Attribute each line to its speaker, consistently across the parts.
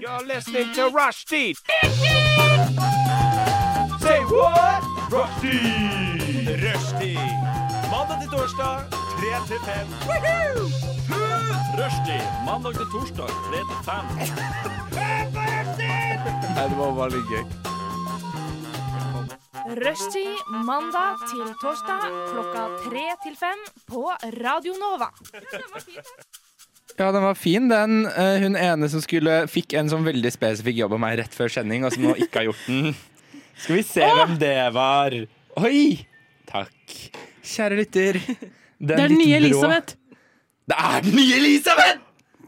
Speaker 1: You're listening to Rushdie. Say what? Rushdie. Rushdie. Mandag til torsdag, 3 til 5. Rushdie. Mandag til torsdag, 3 til 5. det var veldig gøy.
Speaker 2: Rushtid mandag til torsdag klokka tre til fem på Radio Nova.
Speaker 3: Ja, den var fin, den. Eh, Hun ene som skulle fikk en sånn veldig spesifikk jobb av meg rett før sending, og som nå ikke har gjort den. Skal vi se hvem det var. Oi! Takk. Kjære lytter.
Speaker 4: Det er den nye
Speaker 3: litt brå-
Speaker 4: Elisabeth.
Speaker 3: Det er den nye Elisabeth!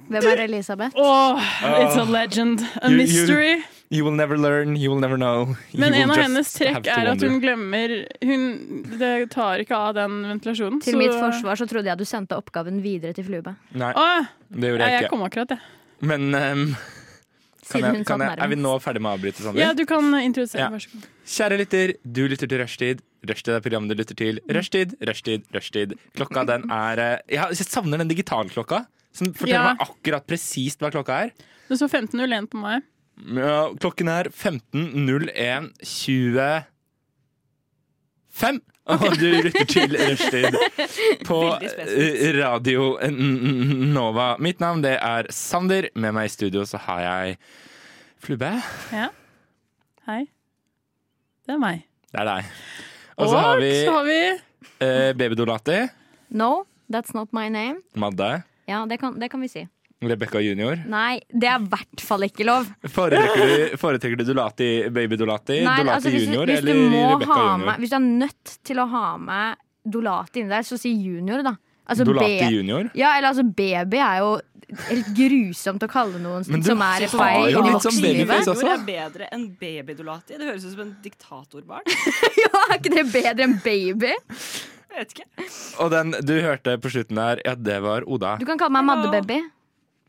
Speaker 5: Hvem er Elisabeth?
Speaker 4: Åh, it's a legend. A
Speaker 3: Ah. You- you-
Speaker 4: mystery.
Speaker 3: You will never learn, you will never know. You
Speaker 4: Men
Speaker 3: will
Speaker 4: en av
Speaker 3: just
Speaker 4: hennes
Speaker 3: have
Speaker 4: trekk
Speaker 3: to
Speaker 4: er at hun
Speaker 3: wonder.
Speaker 4: glemmer hun, Det tar ikke av den ventilasjonen.
Speaker 5: Til mitt forsvar så trodde jeg du sendte oppgaven videre til Flube.
Speaker 3: Nei,
Speaker 4: Å,
Speaker 3: det gjorde
Speaker 4: ja,
Speaker 3: jeg
Speaker 4: jeg
Speaker 3: ikke.
Speaker 4: kom akkurat, jeg.
Speaker 3: Men ehm, kan
Speaker 5: Siden
Speaker 3: jeg,
Speaker 5: hun
Speaker 3: kan
Speaker 5: satt
Speaker 3: jeg, er vi
Speaker 5: nærmest.
Speaker 3: nå ferdig med å avbryte, Sander?
Speaker 4: Ja, du kan eh, introdusere.
Speaker 3: Ja.
Speaker 4: Vær så god.
Speaker 3: Kjære lytter, du lytter til Rushtid. Rushtid er programmet du lytter til. Rushtid, rushtid, rushtid. Klokka den er eh, Jeg jeg savner den digitalklokka. Som forteller
Speaker 4: Ja.
Speaker 3: meg akkurat presist hva klokka er.
Speaker 4: Du så 1501 på meg.
Speaker 3: Ja, Klokken er 15.01.25. Og du lytter til Rushtid på eh, radio N- N- Nova. Mitt navn det er Sander. Med meg i studio så har jeg Flubbe.
Speaker 4: Ja. Hei. Det er meg.
Speaker 3: Det er deg. Og så har vi
Speaker 4: så har vi
Speaker 3: eh, Baby Dolati.
Speaker 5: No, that's not my name.
Speaker 3: Madde.
Speaker 5: Ja, det kan, det kan vi si.
Speaker 3: Rebekka junior.
Speaker 5: Nei, det er i hvert fall ikke lov.
Speaker 3: Foretrekker du, foretrekker du Dolati, baby Dolati,
Speaker 5: Nei,
Speaker 3: Dolati
Speaker 5: altså, hvis, du-
Speaker 3: junior
Speaker 5: hvis, du
Speaker 3: eller
Speaker 5: må
Speaker 3: Rebekka
Speaker 5: ha
Speaker 3: junior?
Speaker 5: med, hvis du er nødt til å ha med Dolati inni der, så si junior, da. Altså,
Speaker 3: Dolati
Speaker 5: be-
Speaker 3: junior?
Speaker 5: Ja, eller altså baby er jo helt grusomt å kalle noen
Speaker 3: Men du
Speaker 5: som er på
Speaker 3: har
Speaker 5: vei
Speaker 3: jo
Speaker 5: inn i
Speaker 3: litt sånn
Speaker 5: voksenlivet.
Speaker 3: babyface.
Speaker 6: Junior
Speaker 3: også.
Speaker 6: er bedre enn babydolati. Det høres ut som en diktatorbarn.
Speaker 5: Ja, er ikke det bedre enn baby?
Speaker 6: Jeg vet ikke.
Speaker 3: Og den du hørte på slutten der, ja, det var Oda.
Speaker 5: Du kan kalle meg maddebaby.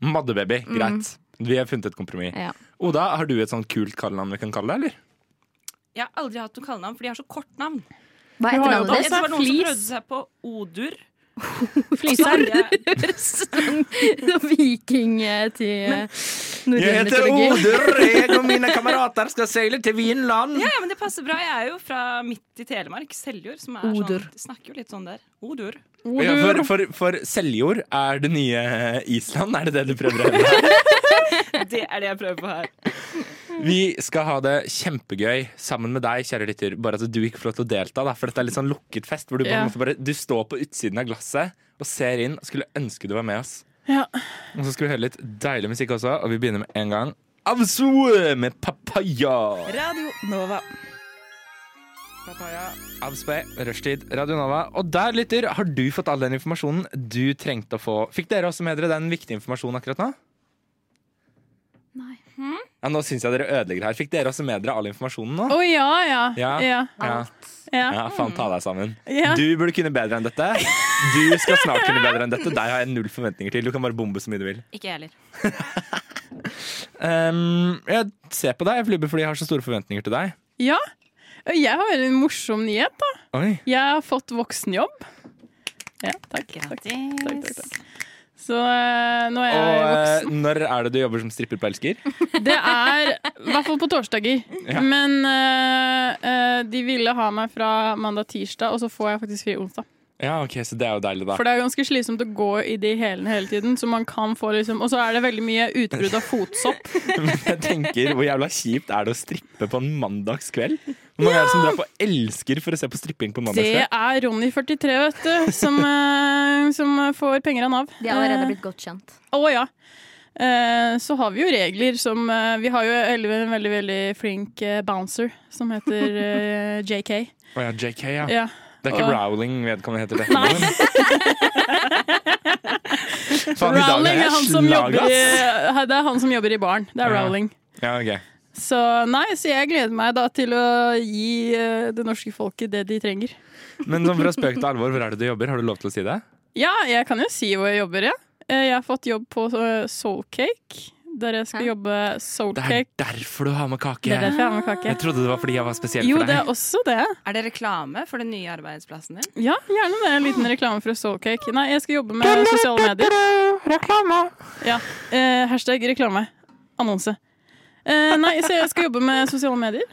Speaker 3: Maddebaby. Greit. Vi har funnet et kompromiss.
Speaker 5: Ja.
Speaker 3: Oda, har du et sånn kult kallenavn vi kan kalle deg, eller?
Speaker 6: Jeg har aldri hatt noe kallenavn, for de har så kort navn.
Speaker 4: Du
Speaker 5: Hva
Speaker 4: har jo
Speaker 5: heter navnet
Speaker 4: Også er
Speaker 5: ditt?
Speaker 6: Jeg tror det var noen som
Speaker 4: flis.
Speaker 6: prøvde seg på odur.
Speaker 4: Fliser.
Speaker 5: Sånn Viking eh, til eh, norrøn mytologi.
Speaker 3: Oder. Jeg og mine kamerater skal seile til Vinland.
Speaker 6: Ja, ja, men det passer bra. Jeg er jo fra midt i Telemark, Seljord. Som er
Speaker 5: Odur.
Speaker 6: Sånn, de snakker jo litt sånn der. Odur.
Speaker 3: Ja, for, for, for Seljord er det nye Island, er det det du prøver å hevde?
Speaker 6: Det er det jeg prøver på her.
Speaker 3: Vi skal ha det kjempegøy sammen med deg, kjære lytter. Bare at du ikke får lov til å delta, da, for dette er litt sånn lukket fest. Hvor du, på en
Speaker 4: Ja.
Speaker 3: måte bare, du står på utsiden av glasset og ser inn og skulle ønske du var med oss.
Speaker 4: Ja.
Speaker 3: Og så skal vi høre litt deilig musikk også, og vi begynner med en gang. Avsoe med papaya.
Speaker 6: Radio Nova.
Speaker 3: Papaya, Avspe, Rushtid, Radio Nova. Og der, lytter, har du fått all den informasjonen du trengte å få. Fikk dere også med dere den viktige informasjonen akkurat nå?
Speaker 5: Nei.
Speaker 3: Ja, nå syns jeg dere ødelegger her. Fikk dere også med dere all informasjonen nå?
Speaker 4: Å ja, ja.
Speaker 3: Ja.
Speaker 4: ja.
Speaker 3: Ja.
Speaker 4: ja.
Speaker 3: Ja, faen, ta deg sammen.
Speaker 4: Ja.
Speaker 3: Du burde kunne bedre enn dette. Du skal snart kunne bedre enn dette. Deg har jeg null forventninger til. Du kan bare bombe så mye du vil.
Speaker 6: Ikke jeg heller.
Speaker 3: Ehm, jeg ser på deg, Flubbe, fordi jeg har så store forventninger til deg.
Speaker 4: ja. Jeg har en morsom nyhet, da.
Speaker 3: Oi.
Speaker 4: Jeg har fått voksenjobb. Ja, takk. takk. takk, takk,
Speaker 6: Grattis.
Speaker 4: takk. Så eh, nå er jeg
Speaker 3: Og eh,
Speaker 4: voksen.
Speaker 3: når er det du jobber som stripper på Elsker?
Speaker 4: Det er i hvert fall på torsdager.
Speaker 3: Ja.
Speaker 4: Men eh, eh, de ville ha meg fra mandag-tirsdag, og så får jeg faktisk fri onsdag.
Speaker 3: Ja, ok, så det er jo deilig, da.
Speaker 4: For det er ganske slitsomt å gå i de hælene hele tiden. Så man kan få liksom Og så er det veldig mye utbrudd av fotsopp.
Speaker 3: Men jeg tenker, Hvor jævla kjipt er det å strippe på en mandagskveld? Hvor mange er det som drar på Elsker for å se på stripping på en
Speaker 4: Det
Speaker 3: mandagskveld?
Speaker 4: er Ronny 43, vet du, som, eh, som eh, får penger av Nav.
Speaker 5: De er allerede blitt godt kjent.
Speaker 4: Eh, Å ja. Eh, Så har vi jo regler som eh, Vi har jo elleve en veldig veldig flink eh, bouncer som heter eh, JK.
Speaker 3: Å ja, JK, ja.
Speaker 4: Ja.
Speaker 3: Det er ikke
Speaker 4: Og-
Speaker 3: Rowling vedkommende heter dette. Nei.
Speaker 4: Rowling er han som jobber i, Hei, det er han som jobber i baren. Det er
Speaker 3: Ja.
Speaker 4: Rowling.
Speaker 3: Ja, ok.
Speaker 4: Så nei, så jeg gleder meg da til å gi eh, det norske folket det de trenger.
Speaker 3: Men sånn fra spøk til alvor, hvor er det du jobber? Har du lov til å si det?
Speaker 4: Ja, jeg kan jo si hvor jeg jobber, ja. Eh, Jeg har fått jobb på eh, Soulcake, der jeg skal
Speaker 5: Hæ?
Speaker 4: jobbe Soulcake.
Speaker 3: derfor du har med kake.
Speaker 4: Det er derfor jeg har med kake.
Speaker 3: Jeg trodde det var fordi jeg var spesiell
Speaker 4: Jo,
Speaker 3: for
Speaker 4: det
Speaker 3: deg.
Speaker 4: er også det.
Speaker 6: Er det reklame for den nye arbeidsplassen din?
Speaker 4: Ja, gjerne det. En
Speaker 3: Ah.
Speaker 4: liten reklame fra Soulcake. Nei, jeg skal jobbe med sosiale medier.
Speaker 3: Reklame!
Speaker 4: Ja, eh, hashtag reklame. Annonse. Eh, nei, så jeg skal jobbe med sosiale medier.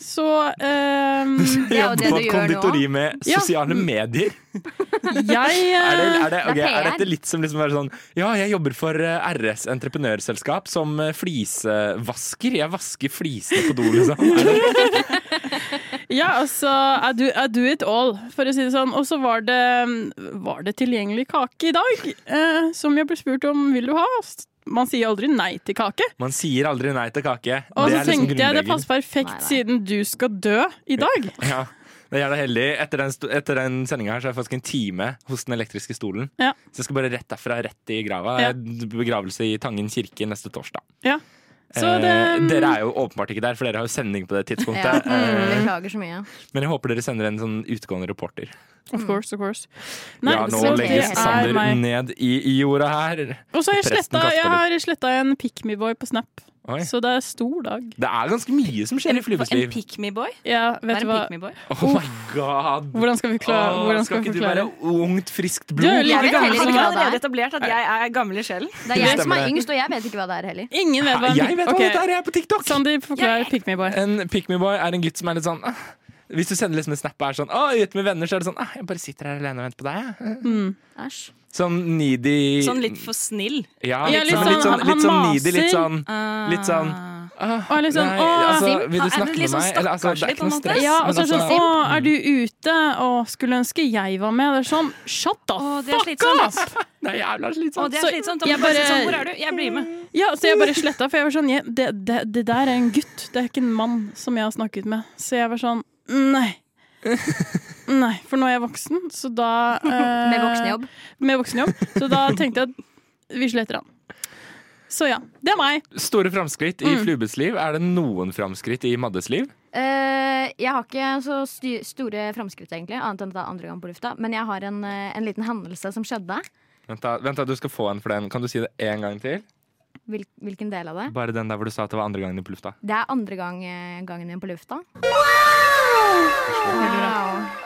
Speaker 4: Så ehm,
Speaker 5: Det er jo det du gjør nå.
Speaker 3: konditori med
Speaker 4: Ja.
Speaker 3: sosiale medier.
Speaker 4: jeg eh,
Speaker 3: Er, det, er, det,
Speaker 5: Det er
Speaker 3: ok, er
Speaker 5: PR.
Speaker 3: dette litt som liksom å være sånn Ja, jeg jobber for eh, RS entreprenørselskap som eh, flisevasker. Jeg vasker flisene på do, liksom. Er det,
Speaker 4: Ja, altså I do, I do it all, for å si det sånn. Og så var det ehm, Var det tilgjengelig kake i dag? Eh, som jeg ble spurt om vil du ha. Man sier aldri nei til kake.
Speaker 3: man sier aldri nei til kake. det er
Speaker 4: Og så
Speaker 3: liksom
Speaker 4: tenkte jeg det
Speaker 3: grunnregelen.
Speaker 4: passer perfekt
Speaker 5: Nei, nei.
Speaker 4: siden du skal dø i dag.
Speaker 3: Ja, det er jævla heldig. Etter den, sto- etter den sendinga her så er jeg faktisk en time hos Den elektriske stolen.
Speaker 4: Ja.
Speaker 3: Så jeg skal bare rett derfra, rett i grava.
Speaker 4: Ja.
Speaker 3: Begravelse i Tangen kirke neste torsdag.
Speaker 4: Ja. Så
Speaker 3: Eh,
Speaker 4: det ehm,
Speaker 3: Dere er jo åpenbart ikke der, for dere har jo sending på det
Speaker 5: Ja.
Speaker 3: tidspunktet.
Speaker 5: Mm,
Speaker 3: Eh,
Speaker 5: Beklager så mye.
Speaker 3: Men jeg håper dere sender en sånn utgående reporter.
Speaker 4: Of course, of course.
Speaker 3: ja, nå
Speaker 4: så det
Speaker 3: legges
Speaker 4: er
Speaker 3: Sander
Speaker 4: meg.
Speaker 3: ned i, i jorda her.
Speaker 4: Og så har jeg
Speaker 3: Presten
Speaker 4: sletta-
Speaker 3: kaster
Speaker 4: jeg
Speaker 3: litt.
Speaker 4: har sletta en Pick Me Boy på Snap,
Speaker 3: Oi.
Speaker 4: så det er stor dag.
Speaker 3: Det er ganske mye som skjer i
Speaker 6: En
Speaker 3: flyvesliv.
Speaker 6: pick me boy?
Speaker 4: Ja,
Speaker 6: Hva
Speaker 4: vet
Speaker 6: er
Speaker 4: du
Speaker 6: en
Speaker 4: hva?
Speaker 6: pick me boy?
Speaker 3: Oh my god!
Speaker 4: Hvordan skal vi klare
Speaker 3: Åh,
Speaker 4: hvordan
Speaker 3: skal
Speaker 4: skal vi
Speaker 3: ikke du
Speaker 4: forklare?
Speaker 3: være ungt, friskt
Speaker 4: Du er jo
Speaker 3: blod?
Speaker 5: Jeg
Speaker 4: like
Speaker 5: vet
Speaker 4: gammel
Speaker 5: heller
Speaker 4: som
Speaker 5: ikke
Speaker 6: Jeg
Speaker 4: meg.
Speaker 5: hva det
Speaker 6: har allerede
Speaker 5: er.
Speaker 6: etablert at jeg er gammel i sjelen.
Speaker 5: Det er jeg som
Speaker 3: Stemmer
Speaker 5: er
Speaker 3: det.
Speaker 5: yngst, og jeg vet ikke hva det er heller.
Speaker 4: Ingen vet hva en
Speaker 3: Jeg
Speaker 4: Pick-
Speaker 3: vet hva
Speaker 4: Ok,
Speaker 3: dette er, jeg er på TikTok!
Speaker 4: Sander, forklar Pick Me Boy.
Speaker 3: En pick me boy er en gutt som er litt sånn ah. Hvis du sender liksom en snap og er sånn ah, ute med venner, så er det sånn ah, Jeg bare sitter her alene og venter på deg. jeg».
Speaker 5: Æsj.
Speaker 3: Sånn needy
Speaker 6: Sånn litt for snill.
Speaker 3: ja,
Speaker 4: Ja,
Speaker 3: litt,
Speaker 4: litt
Speaker 3: sånn, litt
Speaker 4: sånn,
Speaker 3: sånn, litt sånn
Speaker 4: han
Speaker 3: needy, litt
Speaker 4: maser.
Speaker 3: sånn Litt sånn ah,
Speaker 4: Og er litt sånn,
Speaker 3: nei,
Speaker 4: «Åh,
Speaker 3: altså,
Speaker 6: Sim,
Speaker 3: Vil
Speaker 6: er
Speaker 3: du snakke
Speaker 6: det
Speaker 3: med
Speaker 6: litt sånn
Speaker 3: meg? Eller, altså, det er
Speaker 6: stakkarslig på
Speaker 3: ikke
Speaker 6: en
Speaker 3: noe
Speaker 6: måte?
Speaker 3: stress.
Speaker 4: Ja, og så er det
Speaker 3: men altså,
Speaker 4: sånn Å, er du ute? Å, skulle ønske jeg var med. Det er sånn Shut the
Speaker 6: Å, det er
Speaker 4: fuck
Speaker 6: slitsomt.
Speaker 4: up!
Speaker 3: det er jævla
Speaker 6: Og
Speaker 3: slitsomt.
Speaker 6: det er
Speaker 4: Så
Speaker 6: slitsomt.
Speaker 4: jeg
Speaker 6: Jeg bare,
Speaker 4: bare-
Speaker 6: sier sånn, hvor er du? Jeg blir med.
Speaker 4: Ja, så jeg bare sletta, for jeg var sånn «Jeg- det, det, det der er en gutt, det er ikke en mann som jeg har snakket med. Så jeg var sånn Nei. Nei, for nå er jeg voksen, så da eh,
Speaker 5: Med voksenjobb.
Speaker 4: Med voksenjobb. Så da tenkte jeg at vi sletter han. Så ja. Det er meg.
Speaker 3: Store framskritt i Flubes liv. Er det noen framskritt i Maddes liv?
Speaker 5: Eh, jeg har ikke så sty- store framskritt, egentlig, annet enn at det er andre gang på lufta. Men jeg har en, eh, en liten hendelse som skjedde.
Speaker 3: Vent, da, vent da, du skal få en for den. Kan du si det én gang til?
Speaker 5: Hvil, hvilken del av det?
Speaker 3: Bare den der hvor du sa at det var andre gangen i lufta.
Speaker 5: Det er andre gang, eh, gangen min på lufta. Wow!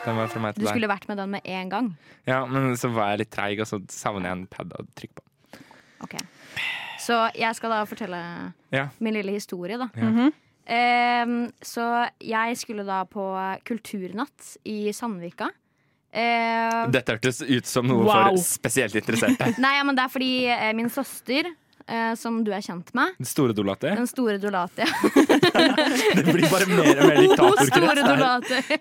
Speaker 3: Den var fra meg
Speaker 5: Du
Speaker 3: til deg.
Speaker 5: skulle vært med den med en gang.
Speaker 3: Ja, men så var jeg litt treig, og så savner jeg en pad å trykke på.
Speaker 5: Ok. Så jeg skal da fortelle
Speaker 3: Ja.
Speaker 5: min lille historie, da.
Speaker 3: Ja.
Speaker 5: Ehm, så jeg skulle da på kulturnatt i Sandvika. Eh,
Speaker 3: Dette hørtes ut som noe
Speaker 4: Wow.
Speaker 3: for spesielt interesserte.
Speaker 5: nei, ja, men det er fordi eh, min søster, eh, som du er kjent med,
Speaker 3: Den store dolate.
Speaker 5: den store Dolatia
Speaker 3: Det blir bare mer og mer
Speaker 5: Store
Speaker 3: diktatorkrets. her.
Speaker 5: Dolatia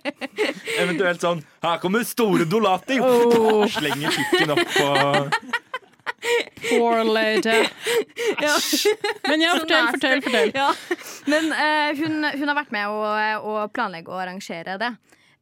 Speaker 3: Eventuelt sånn Her kommer store dolati! Slenger pikken opp og
Speaker 4: Poor lady.
Speaker 5: Ja.
Speaker 4: Men ja,
Speaker 5: Så
Speaker 4: fortell,
Speaker 5: nasty.
Speaker 4: fortell, fortell.
Speaker 5: Ja. Men eh, hun, hun har vært med å, å planlegge og arrangere det.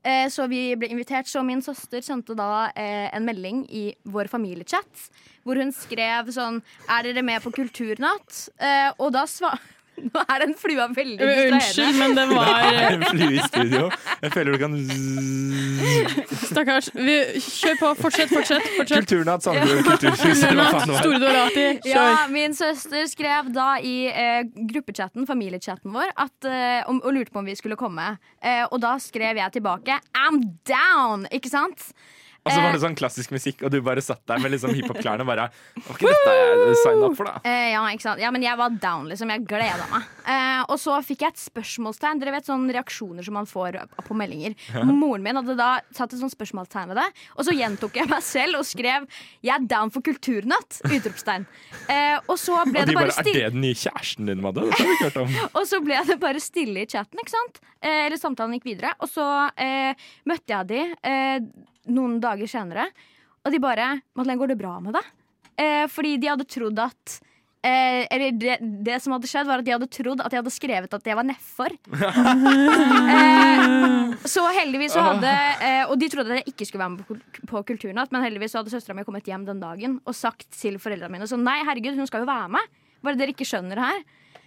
Speaker 5: Eh, så vi ble invitert. Så min søster sendte da eh, en melding i vår familiechat hvor hun skrev sånn Er dere med på Kulturnatt? Eh, og da sva... Nå er den flua veldig
Speaker 4: Eh,
Speaker 5: distraherende.
Speaker 4: Unnskyld, men den
Speaker 3: Det
Speaker 4: var eh,
Speaker 3: er en flue i studio. Jeg føler du kan zzz.
Speaker 4: Stakkars. Vi, kjør på. Fortsett, fortsett. fortsett.
Speaker 3: Kulturnatt, Sandefjord kulturhus, eller hva faen det var.
Speaker 4: Store Dorati, kjør.
Speaker 5: Ja, min søster skrev da i eh, gruppechatten, familiechatten vår, at, eh, om, og lurte på om vi skulle komme. Eh, og da skrev jeg tilbake I'm down! Ikke sant?
Speaker 3: Og så var det sånn klassisk musikk, og du bare satt der med liksom hiphop-klærne og bare OK, dette er jeg sign up for, da.
Speaker 5: Eh, ja, ikke sant? ja, men jeg var down, liksom. Jeg gleda meg. Eh, og så fikk jeg et spørsmålstegn. Dere vet sånne reaksjoner som man får på meldinger. Moren min hadde da satt et sånt spørsmålstegn ved det, og så gjentok jeg meg selv og skrev 'Jeg er down for kulturnatt!' Utropstegn. Eh, og så
Speaker 3: Og
Speaker 5: ble det
Speaker 3: de
Speaker 5: bare
Speaker 3: bare Er
Speaker 5: stille.
Speaker 3: det den nye kjæresten din, Madde? Dette har vi ikke hørt om.
Speaker 5: Og så ble det bare stille i chatten, ikke sant? Eh, eller samtalen gikk videre. Og så eh, møtte jeg de eh, noen dager senere, og de bare 'Madeleine, går det bra med deg?' Eh, fordi de hadde trodd at eh, Eller det, det som hadde skjedd, var at de hadde trodd at jeg hadde skrevet at jeg var nedfor. eh, så heldigvis så hadde eh, Og de trodde at jeg ikke skulle være med på, kul- på Kulturnatt, men heldigvis så hadde søstera mi kommet hjem den dagen og sagt til foreldrene mine sånn 'Nei, herregud, hun skal jo være med'. Bare dere ikke skjønner her.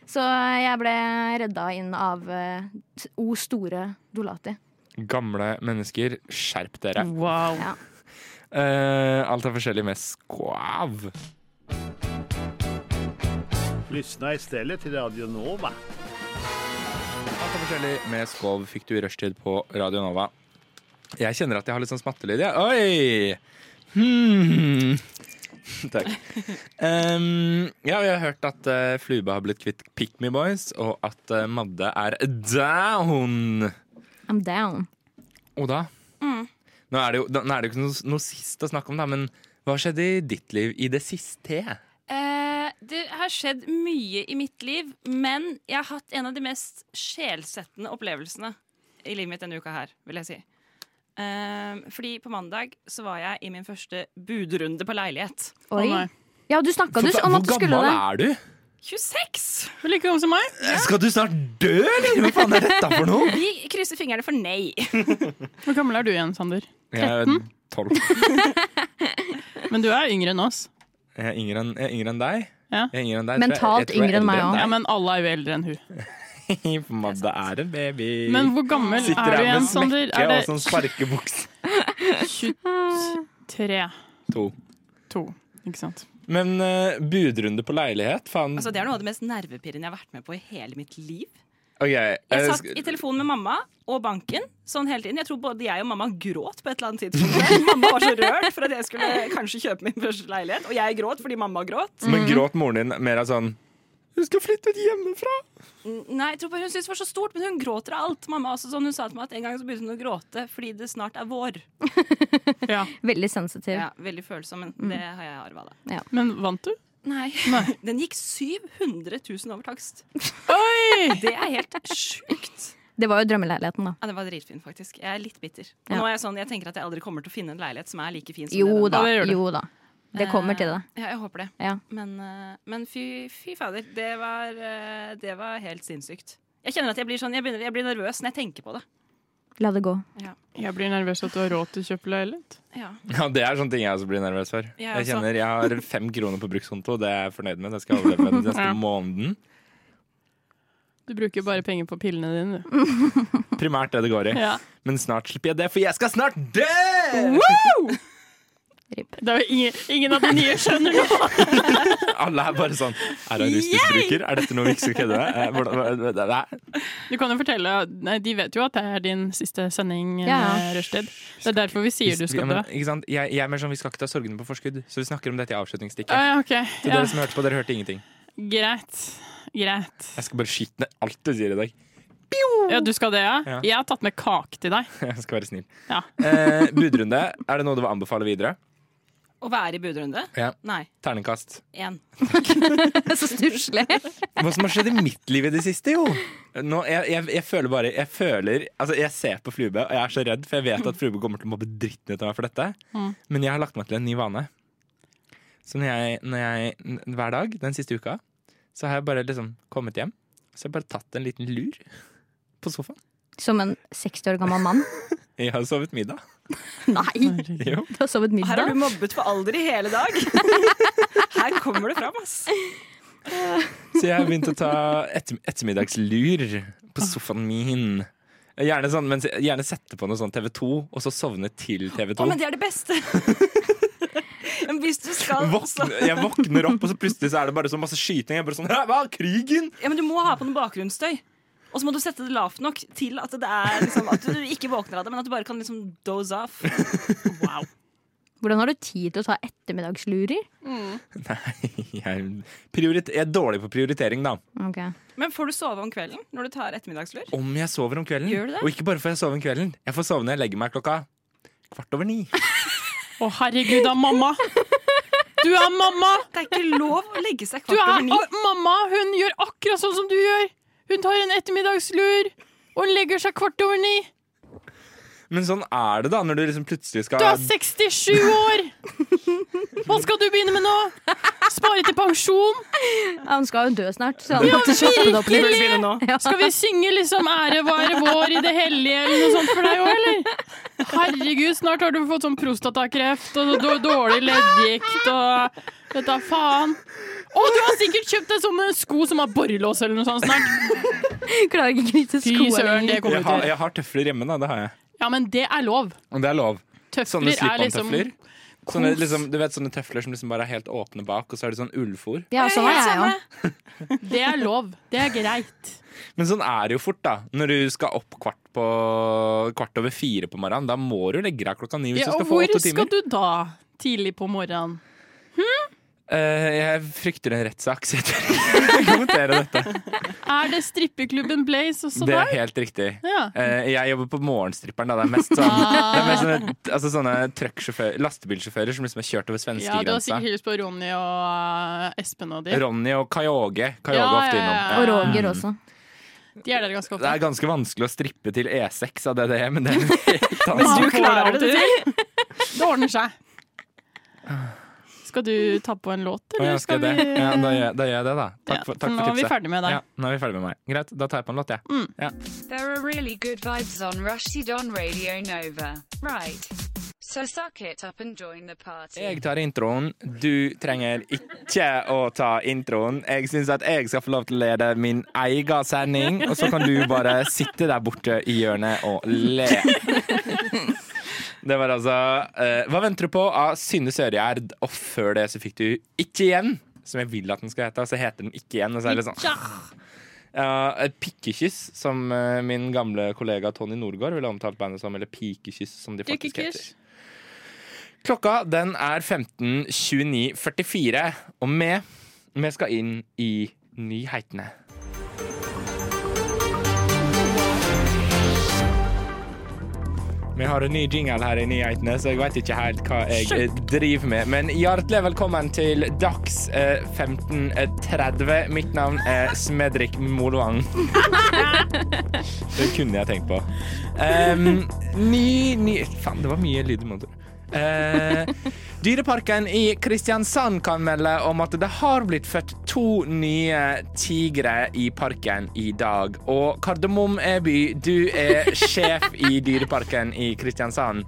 Speaker 5: Så jeg ble redda inn av eh, t- O store Dolati.
Speaker 3: Gamle mennesker, skjerp dere.
Speaker 4: Wow.
Speaker 5: Ja.
Speaker 3: Eh, alt er forskjellig med skvav.
Speaker 7: Lyssna istället till Radio Nova.
Speaker 3: Alt er forskjellig med skov fikk du i rushtid på Radio Nova. Jeg kjenner at jeg har litt sånn smattelyd. jeg. Oi! Hmm. Takk. Ehm, ja, vi har hørt at uh, Flube har blitt kvitt Pick Me Boys, og at eh, Madde er down.
Speaker 5: I'm down.
Speaker 3: Og da?
Speaker 5: Mm.
Speaker 3: Nå er det jo, nå er det jo ikke noe, noe sist å snakke om, da, men hva skjedde i ditt liv i det siste?
Speaker 6: Eh, det har skjedd mye i mitt liv, men jeg har hatt en av de mest sjelsettende opplevene i livet mitt denne uka her, vil jeg si. Eh, fordi på mandag så var jeg i min første budrunde på leilighet.
Speaker 5: Oi.
Speaker 4: nei.
Speaker 5: ja, du snakka du om at du
Speaker 3: Hvor
Speaker 5: skulle
Speaker 3: gammel
Speaker 5: det.
Speaker 3: er du?
Speaker 6: 26!
Speaker 4: Du er like gammel som meg.
Speaker 3: Skal du snart dø, eller? Hva faen er dette for noe?
Speaker 6: Vi krysser fingrene for nei.
Speaker 4: Hvor gammel er du igjen, Sander?
Speaker 3: Jeg er tolv.
Speaker 4: Men du er yngre enn oss.
Speaker 3: Jeg er yngre enn, jeg er yngre enn deg.
Speaker 4: Ja.
Speaker 3: Jeg er yngre enn deg.
Speaker 5: Mentalt yngre enn meg også.
Speaker 4: Ja, men alle er jo eldre enn hun.
Speaker 3: også. Madde er en baby.
Speaker 4: Men hvor gammel
Speaker 3: Sitter
Speaker 4: er du
Speaker 3: her med
Speaker 4: igjen, Sander?
Speaker 3: smekke
Speaker 4: Er
Speaker 3: og sånn sparkebukse.
Speaker 4: det 23?
Speaker 3: To.
Speaker 4: To, ikke sant?
Speaker 3: Men eh, budrunde på leilighet, faen.
Speaker 6: Altså, det er noe av det mest nervepirrende jeg har vært med på i hele mitt liv.
Speaker 3: Ok, eh,
Speaker 6: Jeg satt
Speaker 3: sk-
Speaker 6: i telefon med mamma og banken sånn hele tiden. Jeg tror både jeg og mamma gråt på et eller annet tidspunkt. mamma var så rørt for at jeg skulle kanskje kjøpe min første leilighet, og jeg gråt fordi mamma gråt.
Speaker 3: Men gråt moren din mer av sånn Du skal flytte ut hjemmefra!
Speaker 6: Nei, jeg tror bare hun syntes det var så stort, men hun gråter av alt. Mamma også, sånn, hun sa til meg at en gang så begynte hun å gråte fordi det snart er vår.
Speaker 4: Ja.
Speaker 5: Veldig sensitiv.
Speaker 6: Ja, Veldig følsom,
Speaker 5: Mm.
Speaker 6: men det har jeg arva, da.
Speaker 4: Men vant du?
Speaker 6: Nei. Den gikk 700 000 over takst.
Speaker 4: Oi!
Speaker 6: Det er helt sjukt.
Speaker 5: Det var jo drømmeleiligheten, da.
Speaker 6: Ja, det var dritfin, faktisk. Jeg er litt bitter.
Speaker 5: Ja.
Speaker 6: Og nå er jeg sånn, jeg tenker at jeg aldri kommer til å finne en leilighet som er like fin som
Speaker 5: Jo
Speaker 6: den.
Speaker 5: da.
Speaker 4: det gjør det.
Speaker 5: Jo da. Det kommer til det.
Speaker 6: Ja, jeg håper det.
Speaker 5: Ja.
Speaker 6: Men, eh, men fy, fy fader, det var, eh, det var helt sinnssykt. Jeg kjenner at jeg blir, sånn, jeg, begynner, jeg blir nervøs når jeg tenker på det.
Speaker 5: La det gå.
Speaker 4: Jeg blir nervøs at du har råd til å kjøpe leilighet.
Speaker 6: Ja.
Speaker 3: Ja, Det er sånne ting jeg også blir nervøs for.
Speaker 6: Jeg
Speaker 3: jeg
Speaker 6: også.
Speaker 3: kjenner jeg har fem kroner på brukskonto, det er jeg fornøyd med. Det skal jeg overleve med den neste
Speaker 4: Ja.
Speaker 3: måneden.
Speaker 4: Du bruker bare penger på pillene dine,
Speaker 3: Mm.
Speaker 4: du.
Speaker 3: Primært det det går i.
Speaker 4: Ja.
Speaker 3: Men snart slipper jeg det, for jeg skal snart dø!
Speaker 4: Det er jo ingen, ingen av de nye skjønner noe!
Speaker 3: Alle er bare sånn Er hun rusmisbruker? Er dette noe vi ikke skal kødde med? Eh, hvordan- hva- hva- hva-
Speaker 4: Du kan jo fortelle, nei, De vet jo at det er din siste sending, ja.
Speaker 5: Ja.
Speaker 4: Rushtid. Det er derfor vi sier du
Speaker 3: Ja,
Speaker 4: skal dø.
Speaker 3: men, ikke sant? Jeg, jeg er mer sånn, Vi skal ikke ta sorgene på forskudd, så vi snakker om dette i avslutningsstikket.
Speaker 4: Ah, ja, ok.
Speaker 3: Så
Speaker 4: Ja.
Speaker 3: dere som hørte på, dere hørte ingenting.
Speaker 4: Greit. Greit.
Speaker 3: Jeg skal bare skyte ned alt du sier i dag.
Speaker 4: Ja, du skal det, ja?
Speaker 3: Ja.
Speaker 4: Jeg har tatt med kake til deg.
Speaker 3: Jeg skal være snill.
Speaker 4: Ja.
Speaker 3: Eh, budrunde, er det noe du vil anbefale videre?
Speaker 6: Å være i budrunde?
Speaker 3: Ja.
Speaker 6: Nei,
Speaker 3: Terningkast.
Speaker 6: én.
Speaker 5: Så stusslig.
Speaker 3: Hva som har skjedd i mitt liv i det siste, jo? Nå, jeg, jeg, jeg føler bare Jeg føler, altså jeg ser på Flube, og jeg er så redd, for jeg vet at Flube kommer til å mobbe dritten ut av meg for dette. Men jeg har lagt meg til en ny vane. Så når jeg, når jeg n- hver dag den siste uka, så har jeg bare liksom kommet hjem Så har jeg bare tatt en liten lur på sofaen.
Speaker 5: Som en 60 år gammel mann.
Speaker 3: Jeg har sovet middag.
Speaker 5: Nei!
Speaker 3: Jo.
Speaker 5: Du har sovet
Speaker 6: Her
Speaker 5: middag.
Speaker 6: har du mobbet for alder i hele dag! Her kommer det fram, ass.
Speaker 3: Så jeg har begynt å ta etter, ettermiddagslur på sofaen min. Gjerne, sånn, mens jeg- gjerne sette på noe sånn TV2, og så sovne til TV2.
Speaker 6: Å, men det er det beste! Men hvis du skal også
Speaker 3: Våkne, jeg våkner opp, og så plutselig så er det bare så masse skyting. Jeg er bare sånn, «Hæ, Hva? Krigen?
Speaker 6: Ja, men du må ha på noe bakgrunnsstøy. Og så må du sette det lavt nok til at, det er, liksom, at du ikke våkner av det, men at du bare kan liksom doze off. Wow.
Speaker 5: Hvordan har du tid til å ta ettermiddagslurer?
Speaker 3: Nei, jeg, prioriter- jeg er dårlig på prioritering, da.
Speaker 5: Ok.
Speaker 6: Men får du sove om kvelden når du tar ettermiddagslur?
Speaker 3: Om jeg sover om kvelden.
Speaker 6: Gjør du det?
Speaker 3: Og ikke bare får jeg sove om kvelden. Jeg får sove når jeg legger meg klokka kvart over ni.
Speaker 4: Å, herregud, da, mamma! Du er mamma!
Speaker 6: Det er ikke lov å legge seg
Speaker 4: Du
Speaker 6: kvart
Speaker 4: er
Speaker 6: over ni.
Speaker 4: å, Mamma, hun gjør akkurat sånn som du gjør! Hun tar en ettermiddagslur, og hun legger seg kvart over ni.
Speaker 3: Men sånn er det, da, når du liksom plutselig skal
Speaker 4: Du er 67 år! Hva skal du begynne med nå? Spare til pensjon?
Speaker 5: Han skal jo dø snart, så han måtte slappe det opp
Speaker 6: Du bør
Speaker 5: litt.
Speaker 6: begynne nå.
Speaker 4: Skal vi synge liksom 'Ære være vår i det hellige' eller noe sånt for deg òg, eller? Herregud, snart har du fått sånn prostatakreft og så dårlig leddgikt og Vet da faen. Og du har sikkert kjøpt deg sånne sko som har borrelås eller noe sånt snart.
Speaker 5: Klarer ikke å knytte
Speaker 4: Fy
Speaker 5: skoene
Speaker 4: søren, det
Speaker 5: lenger.
Speaker 4: kommer
Speaker 3: jeg,
Speaker 4: du
Speaker 3: har,
Speaker 4: til.
Speaker 3: jeg har tøfler hjemme, da. Det har jeg.
Speaker 4: Ja, men det er lov.
Speaker 3: Og det er lov.
Speaker 4: Tøfler
Speaker 3: Sånne
Speaker 4: er liksom
Speaker 3: slip-on-tøfler. Sånne, liksom, du vet sånne tøfler som liksom bare er helt åpne bak, og så er det sånn ullfòr.
Speaker 5: Ja, sånn er jeg òg.
Speaker 4: Det er lov. Det er greit.
Speaker 3: Men sånn er det jo fort, da. Når du skal opp kvart, på, kvart over fire på morgenen, da må du legge deg klokka ni hvis
Speaker 4: Ja,
Speaker 3: du
Speaker 4: og
Speaker 3: skal få
Speaker 4: hvor
Speaker 3: åtte timer.
Speaker 4: skal du da tidlig på morgenen? Hm?
Speaker 3: Eh, jeg frykter en rettssak, så jeg tør ikke kommentere dette.
Speaker 4: Er det strippeklubben Blaze også
Speaker 3: Det er
Speaker 4: der?
Speaker 3: helt riktig.
Speaker 4: Ja.
Speaker 3: Eh, jeg jobber på morgenstripperen. Da. Det er mest, sånn,
Speaker 4: Ah.
Speaker 3: det er mest sånne, altså sånne trucksjåfør- lastebilsjåfører som liksom har kjørt over
Speaker 4: ja, du har
Speaker 3: svenskegrensa.
Speaker 4: sikkert hilst på Ronny og eh, Espen og de.
Speaker 3: Ronny og Kayoge. Kayoge
Speaker 4: Ja,
Speaker 3: ofte
Speaker 4: ja, ja.
Speaker 3: innom.
Speaker 5: Og Roger også.
Speaker 4: De er der ganske
Speaker 3: Det
Speaker 4: ofte.
Speaker 3: er ganske vanskelig å strippe til E6 av DDE, men det er en helt annen sak.
Speaker 4: Hvis du
Speaker 6: får
Speaker 4: klarer
Speaker 6: det
Speaker 4: det til. Det ordner seg. Skal du ta på en
Speaker 3: Ah.
Speaker 4: låt,
Speaker 3: Å,
Speaker 4: eller
Speaker 3: jeg
Speaker 4: skal
Speaker 3: skal
Speaker 4: vi
Speaker 3: det. Ja, da, gjør jeg, da gjør jeg det, da. Takk
Speaker 4: Ja,
Speaker 3: for, takk
Speaker 4: nå
Speaker 3: for
Speaker 4: er vi
Speaker 3: tipset.
Speaker 4: ferdig med deg. Mm.
Speaker 3: Ja, nå er vi ferdig med meg. Greit, da tar jeg på en låt, jeg. Ja.
Speaker 8: There are really good vibes on Rushdie Don Radio Nova. Right. So suck it up and join the party.
Speaker 3: Jeg tar introen. Du trenger ikke å ta introen. Jeg syns at jeg skal få lov til å lede min egen sending, og så kan du bare sitte der borte i hjørnet og le. Det var altså eh, Hva venter du på av Synne Sørgjerd? Og før det så fikk du Ikke igjen, som jeg vil at den skal hete. Og så heter den Ikke igjen. Og så er det litt sånn Ja, et pikkekyss, som eh, min gamle kollega Tony Norgård ville omtalt bandet som. Eller pikekyss, som de faktisk heter.
Speaker 4: Drikkekyss.
Speaker 3: Klokka den er 15.29.44, og vi, vi skal inn i nyhetene. Vi har en ny jingle her i nyhetene, så jeg vet ikke helt hva jeg eh, driver med. Men hjertelig velkommen til Dags eh, 15.30. Mitt navn er Smedrik Molvang. Det kunne jeg tenkt på. Em, ny, ny Faen, det var mye lyd i motor. Eh, dyreparken i Kristiansand kan melde om at det har blitt født to nye tigre i parken i dag. Og Kardemom Eby, du er sjef i dyreparken i Kristiansand.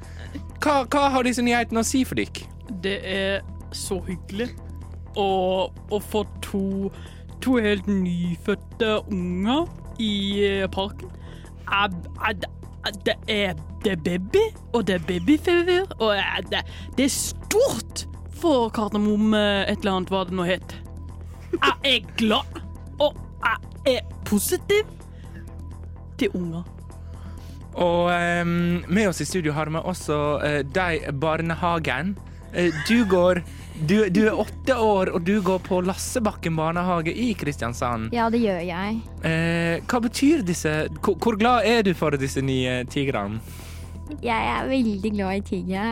Speaker 3: Hva, hva har disse nyhetene å si for dere?
Speaker 4: Det er så hyggelig å, å få to, to helt nyfødte unger i eh, parken. Er- er- er- Det er, det er baby, og det er babyfever, og er- det, det er stort for Kardemomme et eller annet, hva det nå het. Jeg er glad, og jeg er positiv til unger.
Speaker 3: Og em, med oss i studio har vi også eh, deg, barnehagen. Eh, du går du, du er åtte år, og du går på Lassebakken barnehage i Kristiansand.
Speaker 5: Ja, det gjør jeg.
Speaker 3: Eh, hva betyr disse Hvor hvor glad er du for disse nye tigrene?
Speaker 5: Jeg er veldig glad i tigre.